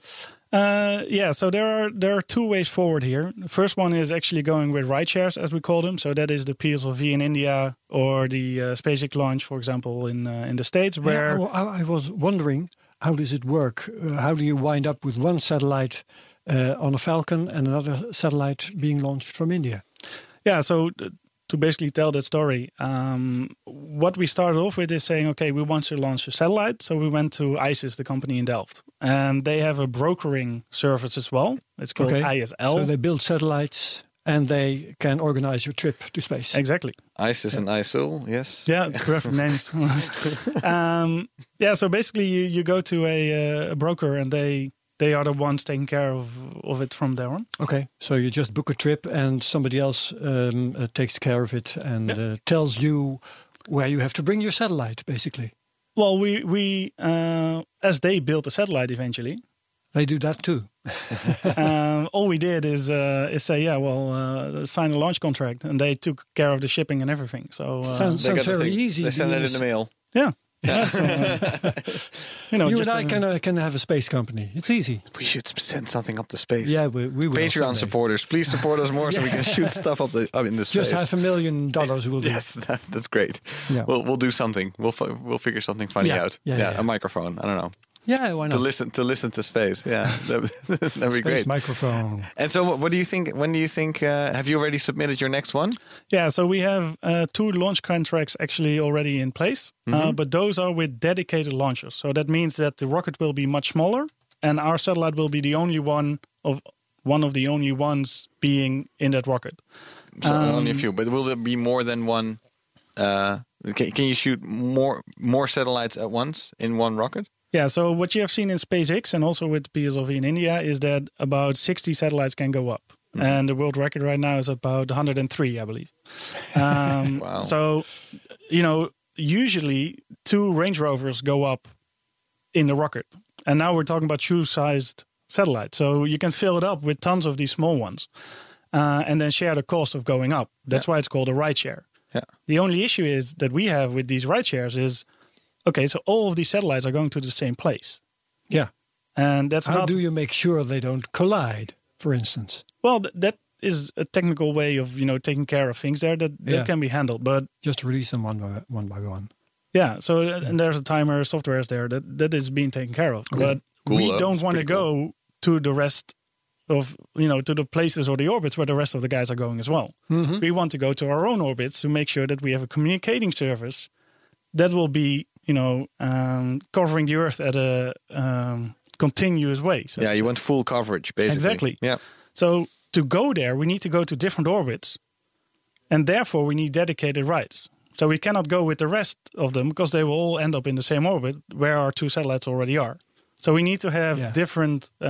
Speaker 3: Uh, yeah, so there are there are two ways forward here. The first one is actually going with ride shares, as we call them. So that is the PSLV in India or the uh, SpaceX launch, for example, in uh, in the states, where
Speaker 1: Yeah, I, I- I was wondering how does it work? Uh, how do you wind up with one satellite uh, on a Falcon and another satellite being launched from India?
Speaker 3: Yeah, so th- to basically tell that story, um, what we started off with is saying, okay, we want to launch a satellite. So we went to ISIS, the company in Delft, and they have a brokering service as well. It's called
Speaker 1: Okay.
Speaker 3: ISL.
Speaker 1: So they build satellites and they can organize your trip to space.
Speaker 3: exactly.
Speaker 2: ISIS and ISIL. Yes.
Speaker 1: [LAUGHS]
Speaker 3: Yeah, perfect names. um, yeah, so basically, you, you go to a, uh, a broker, and they they are the ones taking care of of it from there on.
Speaker 1: Okay. So you just book a trip and somebody else um, uh, takes care of it and uh, tells you where you have to bring your satellite, basically.
Speaker 3: Well, we we uh, as they built the satellite
Speaker 1: [LAUGHS]
Speaker 3: eventually,
Speaker 1: They do that too.
Speaker 3: um, all we did is uh, is say, yeah, well, uh, sign a launch contract, and they took care of the shipping and everything. So uh,
Speaker 1: Sounds,
Speaker 2: They got
Speaker 1: sounds
Speaker 2: the
Speaker 1: very
Speaker 2: thing.
Speaker 1: easy.
Speaker 2: They send
Speaker 1: doing
Speaker 2: it in
Speaker 1: this.
Speaker 2: the mail.
Speaker 3: yeah, [LAUGHS] Yeah,
Speaker 1: [LAUGHS]
Speaker 3: so, uh, you know,
Speaker 1: you and
Speaker 3: just,
Speaker 1: I
Speaker 3: uh,
Speaker 1: can, uh, can have a space company. It's easy.
Speaker 2: We should send something up to space.
Speaker 1: Yeah, we, we will.
Speaker 2: Patreon
Speaker 1: someday.
Speaker 2: supporters, please support us more so
Speaker 1: [LAUGHS]
Speaker 2: we can shoot stuff up, the, up in the space.
Speaker 1: Just half a million dollars will do.
Speaker 2: [LAUGHS] Yes, that, that's great.
Speaker 1: Yeah.
Speaker 2: We'll we'll do something. We'll fi- we'll figure something funny
Speaker 1: Yeah,
Speaker 2: out.
Speaker 1: yeah, yeah, yeah.
Speaker 2: a microphone. I don't know.
Speaker 1: Yeah, why
Speaker 2: to
Speaker 1: not?
Speaker 2: listen to listen to
Speaker 1: [LAUGHS]
Speaker 2: space. Yeah, that'd, [LAUGHS] that'd be
Speaker 1: Space
Speaker 2: great.
Speaker 1: microphone.
Speaker 2: And so, what, what do you think? When do you think? Uh, have you already submitted your next one?
Speaker 3: yeah. So we have uh, two launch contracts actually already in place, uh, but those are with dedicated launchers. So that means that the rocket will be much smaller, and our satellite will be the only one of one of the only ones being in that rocket.
Speaker 2: So
Speaker 1: Um,
Speaker 2: only a few, but will there be more than one? Uh, can, can you shoot more more satellites at once in one rocket?
Speaker 3: Yeah, so what you have seen in SpaceX and also with PSLV in India is that about 60 satellites can go up. and the world record right now is about 103, I believe. Um,
Speaker 2: Wow.
Speaker 3: So, you know, usually two Range Rovers go up in the rocket, and now we're talking about shoe-sized satellites. So you can fill it up with tons of these small ones, uh, and then share the cost of going up. That's why it's called a ride share.
Speaker 2: Yeah.
Speaker 3: The only issue is that we have with these ride shares is, okay, so all of these satellites are going to the same place,
Speaker 1: Yeah.
Speaker 3: and that's
Speaker 1: How
Speaker 3: not
Speaker 1: do you make sure they don't collide, for instance?
Speaker 3: Well, th- that is a technical way of you know taking care of things there that that
Speaker 1: Yeah.
Speaker 3: can be handled. But
Speaker 1: Just release them one by one. By one.
Speaker 3: yeah, so uh, and there's a timer, software is there that that is being taken care of. But
Speaker 2: Hmm. Cool,
Speaker 3: we
Speaker 2: though.
Speaker 3: don't
Speaker 2: It's
Speaker 3: want to
Speaker 2: pretty cool.
Speaker 3: go to the rest of you know to the places or the orbits where the rest of the guys are going as well.
Speaker 2: Mm-hmm.
Speaker 3: We want to go to our own orbits to make sure that we have a communicating service that will be you know um, covering the Earth at a um, continuous way. So
Speaker 2: yeah,
Speaker 3: to
Speaker 2: you
Speaker 3: say.
Speaker 2: want full coverage, basically.
Speaker 3: Exactly.
Speaker 2: Yeah.
Speaker 3: So to go there, we need to go to different orbits, and therefore we need dedicated rides. So we cannot go with the rest of them because they will all end up in the same orbit where our two satellites already are. So we need to have
Speaker 1: Yeah.
Speaker 3: different uh,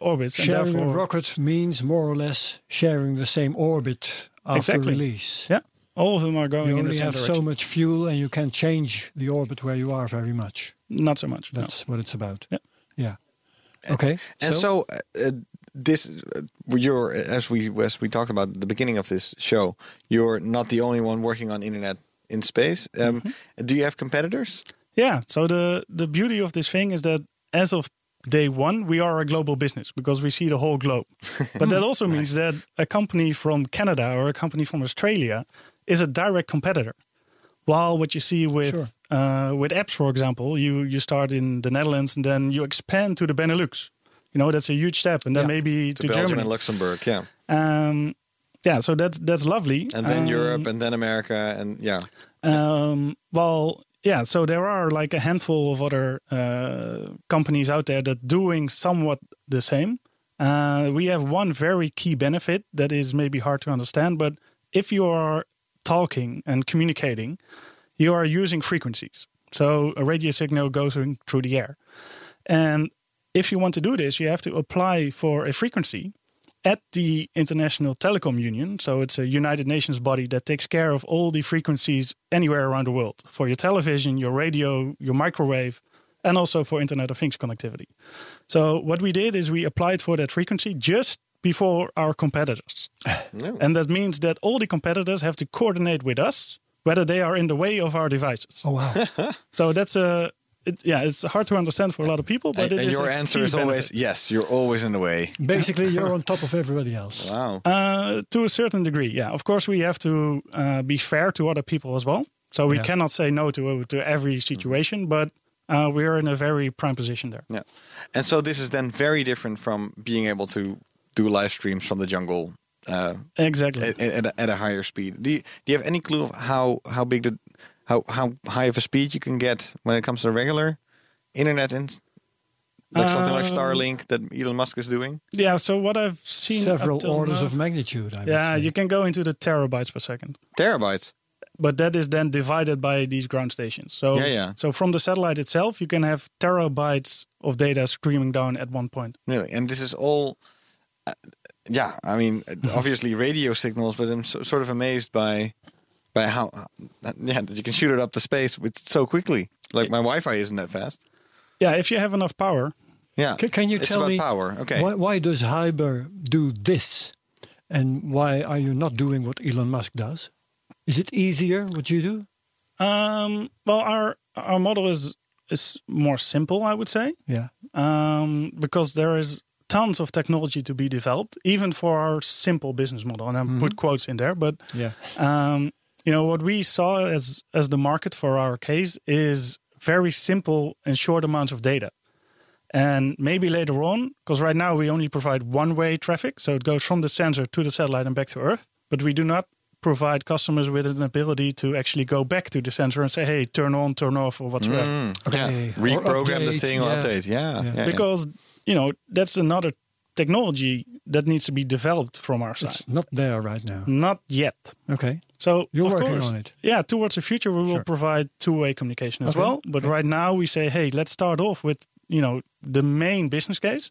Speaker 3: orbits, and
Speaker 1: Sharing a
Speaker 3: therefore,
Speaker 1: rocket means more or less sharing the same orbit after
Speaker 3: Exactly.
Speaker 1: release.
Speaker 3: yeah, all of them are going
Speaker 1: You
Speaker 3: in the
Speaker 1: only
Speaker 3: same
Speaker 1: have
Speaker 3: direction.
Speaker 1: so much fuel, and you can change the orbit where you are very much.
Speaker 3: Not so much. no.
Speaker 1: That's what it's about.
Speaker 3: Yeah.
Speaker 1: Yeah. Okay.
Speaker 2: And so, uh, uh, this uh, you're as we as we talked about at the beginning of this show, you're not the only one working on internet in space. Um,
Speaker 3: Mm-hmm.
Speaker 2: Do you have competitors?
Speaker 3: Yeah. So the the beauty of this thing is that as of day one, we are a global business because we see the whole
Speaker 1: [LAUGHS]
Speaker 3: globe. But that also means that a company from Canada or a company from Australia is a direct competitor. While what you see with
Speaker 1: Sure.
Speaker 3: uh, with apps, for example, you you start in the Netherlands and then you expand to the Benelux. You know that's a huge step, and then
Speaker 1: Yeah.
Speaker 3: maybe to,
Speaker 2: Belgium and
Speaker 3: Germany.
Speaker 2: Luxembourg, yeah,
Speaker 3: Um, yeah, so that's that's lovely.
Speaker 2: and then
Speaker 3: Um,
Speaker 2: Europe, and then America, and yeah,
Speaker 3: um, well, yeah. So there are like a handful of other uh, companies out there that doing somewhat the same. Uh, we have one very key benefit that is maybe hard to understand, but if you are talking and communicating, you are using frequencies. So a radio signal goes in through the air, and if you want to do this, you have to apply for a frequency at the International Telecom Union. So it's a United Nations body that takes care of all the frequencies anywhere around the world for your television, your radio, your microwave, and also for Internet of Things connectivity. So what we did is we applied for that frequency just before our
Speaker 2: [LAUGHS]
Speaker 3: competitors. And that means that all the competitors have to coordinate with us whether they are in the way of our devices.
Speaker 1: Oh wow.
Speaker 3: [LAUGHS] So that's a it, yeah, it's hard to understand for a lot of people, but
Speaker 2: and,
Speaker 3: it
Speaker 2: and
Speaker 3: is
Speaker 2: your
Speaker 3: a
Speaker 2: answer
Speaker 3: key
Speaker 2: is always
Speaker 3: benefit.
Speaker 2: yes. You're always in the way.
Speaker 3: [LAUGHS]
Speaker 2: Oh,
Speaker 1: Basically, you're on top of everybody else.
Speaker 2: Wow.
Speaker 3: Uh, to a certain degree, yeah. Of course, we have to uh, be fair to other people as well. So
Speaker 1: Yeah.
Speaker 3: we
Speaker 1: Mm-hmm.
Speaker 3: cannot say no to to every situation, but uh, we are in a very prime position there.
Speaker 2: Yeah, and so this is then very different from being able to do live streams from the jungle uh,
Speaker 3: Exactly.
Speaker 2: at, at, a, at a higher speed. Do you, do you have any clue of how how big the how how high of a speed you can get when it comes to regular internet and s- like something like
Speaker 3: Um,
Speaker 2: Starlink that Elon Musk is doing?
Speaker 3: yeah. So what I've seen up
Speaker 1: Several
Speaker 3: till
Speaker 1: orders
Speaker 3: now-
Speaker 1: of magnitude. I would
Speaker 3: yeah,
Speaker 1: say.
Speaker 3: you can go into the terabytes per second,
Speaker 2: Terabytes.
Speaker 3: but that is then divided by these ground stations. So
Speaker 2: Yeah, yeah.
Speaker 3: So from the satellite itself, you can have terabytes of data streaming down at one point.
Speaker 2: Really, and this is all. uh, yeah,
Speaker 1: [LAUGHS]
Speaker 2: I mean, uh, obviously radio signals, but I'm so, sort of amazed by by how uh, yeah that you can shoot it up to space with so quickly. Like my Wi-Fi isn't that fast.
Speaker 3: Yeah, if you have enough power,
Speaker 2: Yeah,
Speaker 1: C- can you
Speaker 2: it's
Speaker 1: tell
Speaker 2: about
Speaker 1: me
Speaker 2: power? Okay,
Speaker 1: why, why does Hyber do this, and why are you not doing what Elon Musk does? Is it easier what you do?
Speaker 3: Um, well, our our model is is more simple, I would say,
Speaker 1: Yeah.
Speaker 3: um, because there is tons of technology to be developed, even for our simple business model. And I put quotes in there, but
Speaker 1: Yeah.
Speaker 3: um, you know what we saw as as the market for our case is very simple and short amounts of data. And maybe later on, because right now we only provide one way traffic. So it goes from the sensor to the satellite and back to Earth. But we do not provide customers with an ability to actually go back to the sensor and say, hey, turn on, turn off, or whatsoever.
Speaker 2: Mm-hmm.
Speaker 1: Okay.
Speaker 2: yeah.
Speaker 1: Or
Speaker 2: reprogram the
Speaker 1: update,
Speaker 2: thing or
Speaker 1: yeah.
Speaker 2: update. Yeah, yeah.
Speaker 1: Yeah.
Speaker 2: yeah.
Speaker 3: Because, you know, that's another technology that needs to be developed from our side.
Speaker 1: It's not there right now.
Speaker 3: Not yet.
Speaker 1: Okay.
Speaker 3: So
Speaker 1: You're
Speaker 3: of
Speaker 1: working
Speaker 3: course,
Speaker 1: on it.
Speaker 3: Yeah, towards the future we will
Speaker 1: Sure.
Speaker 3: provide two-way communication as
Speaker 1: Okay.
Speaker 3: well. But right now we say, hey, let's start off with you know the main business case,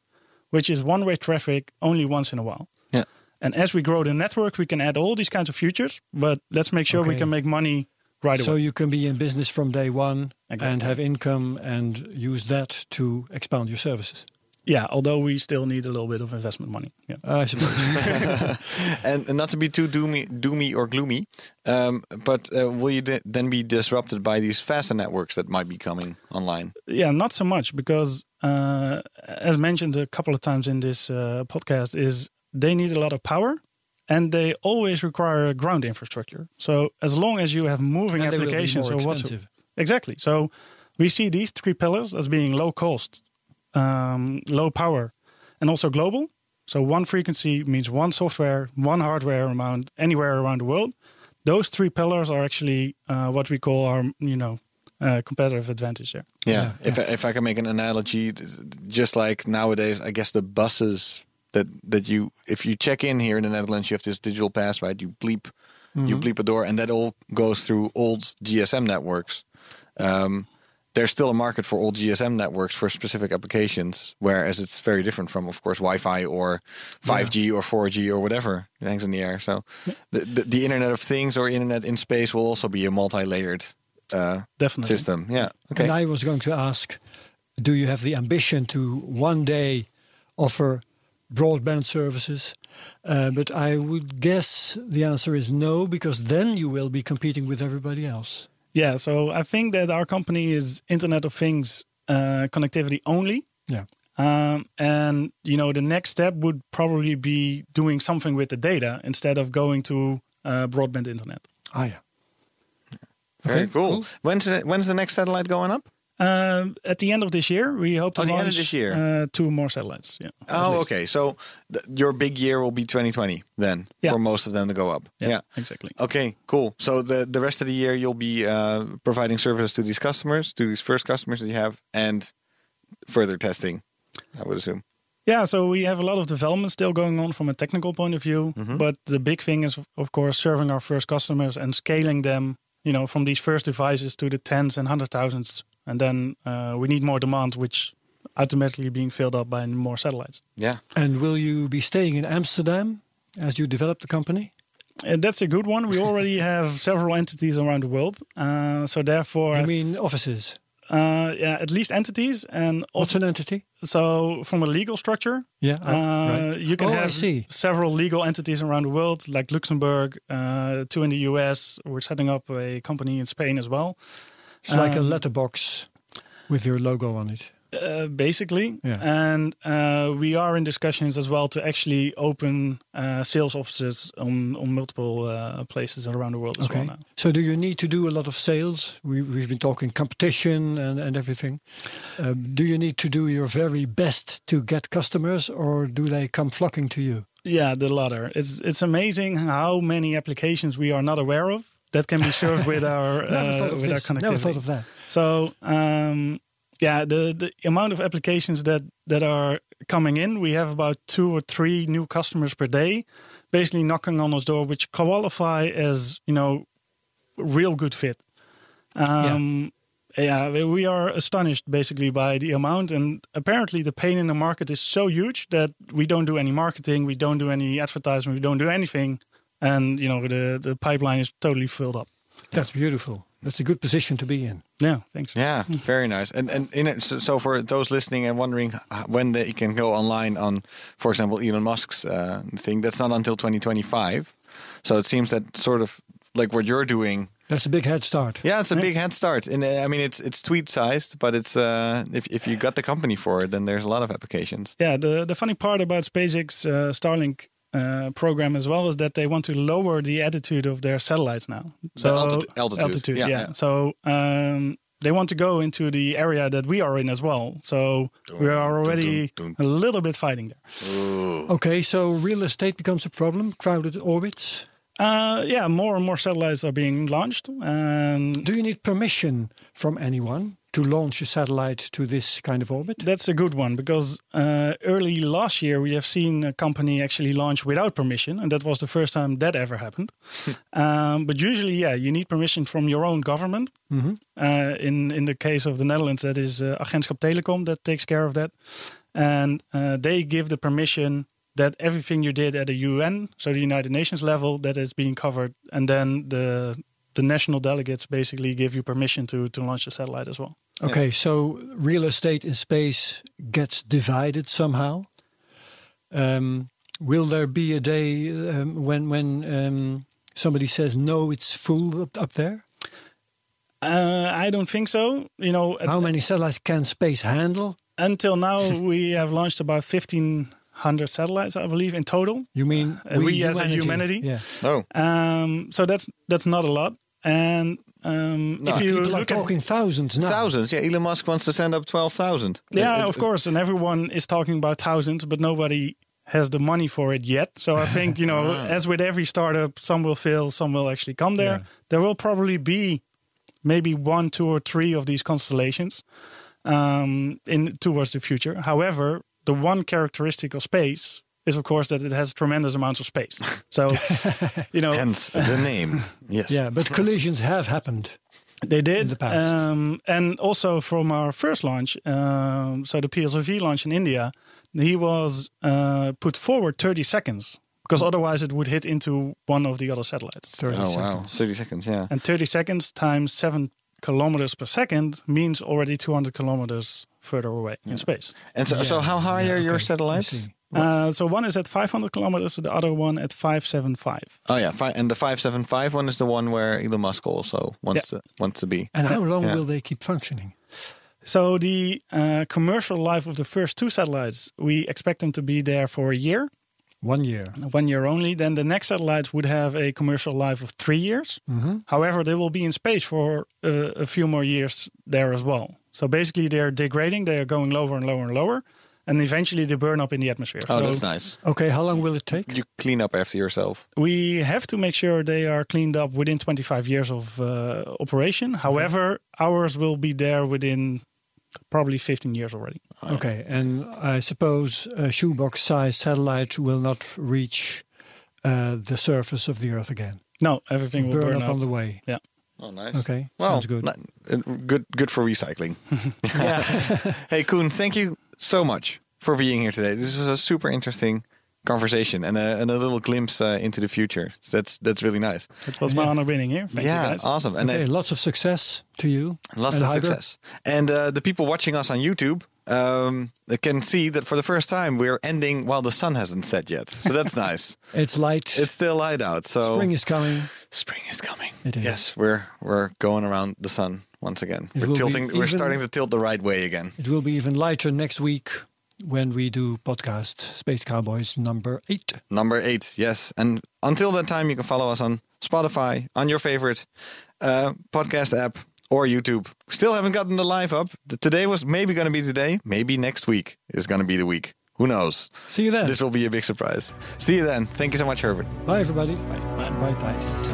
Speaker 3: which is one-way traffic only once in a while.
Speaker 2: Yeah.
Speaker 3: And as we grow the network, we can add all these kinds of futures. But let's make sure we
Speaker 1: Okay.
Speaker 3: can make money right
Speaker 1: so
Speaker 3: away.
Speaker 1: you can be in business from day one and
Speaker 3: Exactly.
Speaker 1: have income and use that to expand your services.
Speaker 3: Yeah, although we still need a little bit of investment money. Yeah.
Speaker 1: I suppose.
Speaker 2: [LAUGHS] and, and not to be too doomy, doomy or gloomy, um, but uh, will you de- then be disrupted by these faster networks that might be coming online?
Speaker 3: yeah not so much because uh, as mentioned a couple of times in this uh, podcast is they need a lot of power and they always require a ground infrastructure so as long as you have moving
Speaker 1: And they will be
Speaker 3: applications
Speaker 1: more
Speaker 3: or what's
Speaker 1: expensive.
Speaker 3: exactly so we see these three pillars as being low cost um, low power and also global so one frequency means one software one hardware amount anywhere around the world those three pillars are actually uh, what we call our you know uh, competitive advantage there
Speaker 2: Yeah. if I, if I can make an analogy, th- just like nowadays, I guess the buses that that you if you check in here in the Netherlands, you have this digital pass, right? You bleep, you bleep a door, and that all goes through old GSM networks. Um, there's still a market for old GSM networks for specific applications, whereas it's very different from, of course, Wi-Fi or 5G or 4G or whatever it hangs in the air. So, the, the the Internet of Things or Internet in space will also be a multi-layered uh,
Speaker 3: definitely
Speaker 2: system. Yeah. Okay.
Speaker 1: and I was going to ask do you have the ambition to one day offer broadband services? Uh, but I would guess the answer is no, because then you will be competing with everybody else.
Speaker 3: Yeah, so I think that our company is Internet of Things uh, connectivity only.
Speaker 1: Yeah.
Speaker 3: Um, and you know the next step would probably be doing something with the data instead of going to uh, broadband internet.
Speaker 1: Ah, yeah.
Speaker 2: Very
Speaker 1: Okay,
Speaker 2: cool. When's the, when's the next satellite going up?
Speaker 3: Um, at the end of this year, we hope to
Speaker 2: Oh, the end of
Speaker 3: launch
Speaker 2: this year.
Speaker 3: Uh, two more satellites. Yeah.
Speaker 2: Oh, okay. So th- your big year will be 2020 then
Speaker 3: Yeah.
Speaker 2: for most of them to go up. Yeah.
Speaker 3: yeah, exactly.
Speaker 2: Okay, cool. So the, the rest of the year you'll be uh, providing services to these customers, to these first customers that you have, and further testing, I would assume.
Speaker 3: Yeah, so we have a lot of development still going on from a technical point of view,
Speaker 1: Mm-hmm.
Speaker 3: but the big thing is of- of course serving our first customers and scaling them, you know, from these first devices to the tens and hundred thousands, and then uh, we need more demand, which automatically being filled up by more satellites.
Speaker 2: Yeah.
Speaker 1: And will you be staying in Amsterdam as you develop the company?
Speaker 3: And that's a good one. We
Speaker 1: [LAUGHS]
Speaker 3: already have several entities around the world, uh, so therefore,
Speaker 1: I
Speaker 3: I
Speaker 1: mean, offices.
Speaker 3: uh, yeah, at least entities, and
Speaker 1: What's
Speaker 3: also
Speaker 1: an entity?
Speaker 3: so from a legal structure,
Speaker 1: Yeah.
Speaker 3: Uh, You can
Speaker 1: Oh, I
Speaker 3: have
Speaker 1: see.
Speaker 3: several legal entities around the world, like Luxembourg, uh, two in the US. We're setting up a company in Spain as well,
Speaker 1: It's like a
Speaker 3: Um,
Speaker 1: letterbox with your logo on it.
Speaker 3: uh, basically.
Speaker 1: Yeah.
Speaker 3: And uh, we are in discussions as well to actually open uh, sales offices on, on multiple uh, places around the world as well now.
Speaker 1: So, do you need to do a lot of sales? We, we've been talking competition and, and everything. Um, do you need to do your very best to get customers, or do they come flocking to you?
Speaker 3: Yeah, the latter. It's it's amazing how many applications we are not aware of that can be
Speaker 1: [LAUGHS]
Speaker 3: served with our uh, with our
Speaker 1: this,
Speaker 3: connectivity.
Speaker 1: Never thought of that.
Speaker 3: So um, yeah, the the amount of applications that that are coming in, we have about two or three new customers per day, basically knocking on us door, which qualify as you know real good fit. Um, yeah. we- we are astonished basically by the amount, and apparently the pain in the market is so huge that we don't do any marketing, we don't do any advertising, we don't do anything, and you know the the pipeline is totally filled up.
Speaker 1: That's beautiful. That's a good position to be in.
Speaker 3: Yeah, thanks.
Speaker 2: Yeah, very nice. And and in it, so, so for those listening and wondering h- when they can go online on, for example, Elon Musk's uh, thing, that's not until 2025. So it seems that sort of like what you're doing
Speaker 1: That's a big head start.
Speaker 2: Yeah, it's a big head start, and uh, I mean it's it's tweet sized, but it's uh, if if you got the company for it, then there's a lot of applications.
Speaker 3: Yeah, the, the funny part about SpaceX uh, Starlink uh, program as well is that they want to lower the attitude of their satellites now.
Speaker 2: altitude- altitude, yeah,
Speaker 3: yeah.
Speaker 2: yeah.
Speaker 3: So um, they want to go into the area that we are in as well. So we are already
Speaker 2: dun,
Speaker 3: a little bit fighting there.
Speaker 1: Okay, so real estate becomes a problem. Crowded orbits.
Speaker 3: Uh, yeah, more and more satellites are being launched. Um,
Speaker 1: Do you need permission from anyone to launch a satellite to this kind of orbit?
Speaker 3: That's a good one because uh, early last year we have seen a company actually launch without permission, and that was the first time that ever happened. um, but usually, yeah, you need permission from your own government. Uh, in in the case of the Netherlands, that is uh, Agentschap Telecom that takes care of that, and uh, they give the permission that everything you did at the UN, so the United Nations level, that is being covered, and then the the national delegates basically give you permission to to launch the satellite as well.
Speaker 1: Okay, so real estate in space gets divided somehow. Um, will there be a day um, when when um, somebody says no, it's full up, up there?
Speaker 3: Uh, I don't think so. You know, at-
Speaker 1: How many satellites can space handle?
Speaker 3: until now we have launched about fifteen hundred satellites, I believe, in total.
Speaker 1: You mean
Speaker 3: Uh, we as a humanity?
Speaker 1: Yeah.
Speaker 2: Oh,
Speaker 3: Um, so that's that's not a lot. And um,
Speaker 2: No,
Speaker 3: if you
Speaker 1: People are
Speaker 3: look at
Speaker 1: talking thousands now.
Speaker 2: thousands. Yeah, Elon Musk wants to send up 12,000.
Speaker 3: Yeah,
Speaker 2: It- it-
Speaker 3: of course. And everyone is talking about thousands, but nobody has the money for it yet. So I think, you
Speaker 2: [LAUGHS]
Speaker 3: know,
Speaker 2: Ah.
Speaker 3: as with every startup, some will fail, some will actually come there. There will probably be maybe one, two, or three of these constellations um, in towards the future. However, the one characteristic of space is, of course, that it has tremendous amounts of space.
Speaker 2: [LAUGHS]
Speaker 3: So, you know,
Speaker 2: Hence the name. Yes.
Speaker 1: Yeah, but collisions have happened.
Speaker 3: they did
Speaker 1: the past.
Speaker 3: Um, and also from our first launch, um, so the PSOV launch in India, he was uh, put forward 30 seconds because otherwise it would hit into one of the other satellites.
Speaker 1: Thirty
Speaker 2: Oh, wow.
Speaker 1: seconds.
Speaker 2: 30 seconds, yeah.
Speaker 3: And 30 seconds times seven kilometers per second means already 200 kilometers further away in space.
Speaker 2: And so, so how high are your satellites?
Speaker 3: Uh, so one is at 500 kilometers, the other one at 575.
Speaker 2: Oh, yeah. Fi- and the 575 one is the one where Elon Musk also wants, to, wants to be.
Speaker 1: And how long
Speaker 2: Yeah.
Speaker 1: will they keep functioning?
Speaker 3: So the uh, commercial life of the first two satellites, we expect them to be there for a year.
Speaker 1: One year.
Speaker 3: one year only, then the next satellites would have a commercial life of three years. However, they will be in space for uh, a few more years there as well. So basically, they're degrading, they are going lower and lower and lower, and eventually they burn up in the atmosphere.
Speaker 2: Oh,
Speaker 3: so
Speaker 2: that's nice.
Speaker 1: Okay, how long will it take?
Speaker 2: You clean up after yourself.
Speaker 3: we have to make sure they are cleaned up within 25 years of uh, operation. However, ours will be there within probably 15 years already.
Speaker 1: Okay, and I suppose a shoebox-sized satellite will not reach uh, the surface of the Earth again.
Speaker 3: No, everything will burn,
Speaker 1: Burn up on the way.
Speaker 3: yeah.
Speaker 2: Oh, nice.
Speaker 1: Okay,
Speaker 2: Well,
Speaker 1: sounds good.
Speaker 2: not- uh, good, good for
Speaker 1: [LAUGHS]
Speaker 2: recycling. [LAUGHS] hey, Koen, thank you so much for being here today. This was a super interesting conversation and a, and a little glimpse uh, into the future. That's that's really nice.
Speaker 3: It was my honor being here. Thank
Speaker 2: yeah,
Speaker 3: you guys.
Speaker 2: awesome. And
Speaker 1: Okay,
Speaker 2: if-
Speaker 1: lots of success to you.
Speaker 2: lots
Speaker 1: and
Speaker 2: of
Speaker 1: Hyder.
Speaker 2: success. And uh, the people watching us on YouTube um, they can see that for the first time we're ending while the sun hasn't set yet. So that's [LAUGHS] nice.
Speaker 1: It's light.
Speaker 2: It's still light out. So
Speaker 1: Spring is coming.
Speaker 2: Spring is coming.
Speaker 1: It is.
Speaker 2: Yes, we're we're going around the sun once again.
Speaker 1: It
Speaker 2: we're
Speaker 1: will be
Speaker 2: tilting. We're
Speaker 1: even-
Speaker 2: starting to tilt the right way again.
Speaker 1: It will be even lighter next week when we do podcast Space Cowboys number eight.
Speaker 2: Number eight. Yes, and until that time, you can follow us on Spotify, on your favorite uh, podcast app, or YouTube. Still haven't gotten the live up. The- Today was maybe going to be today. Maybe next week is going to be the week. Who knows?
Speaker 1: See you then.
Speaker 2: This will be a big surprise. See you then. Thank you so much, Herbert.
Speaker 1: Bye, everybody. Bye. Bye, Thijs.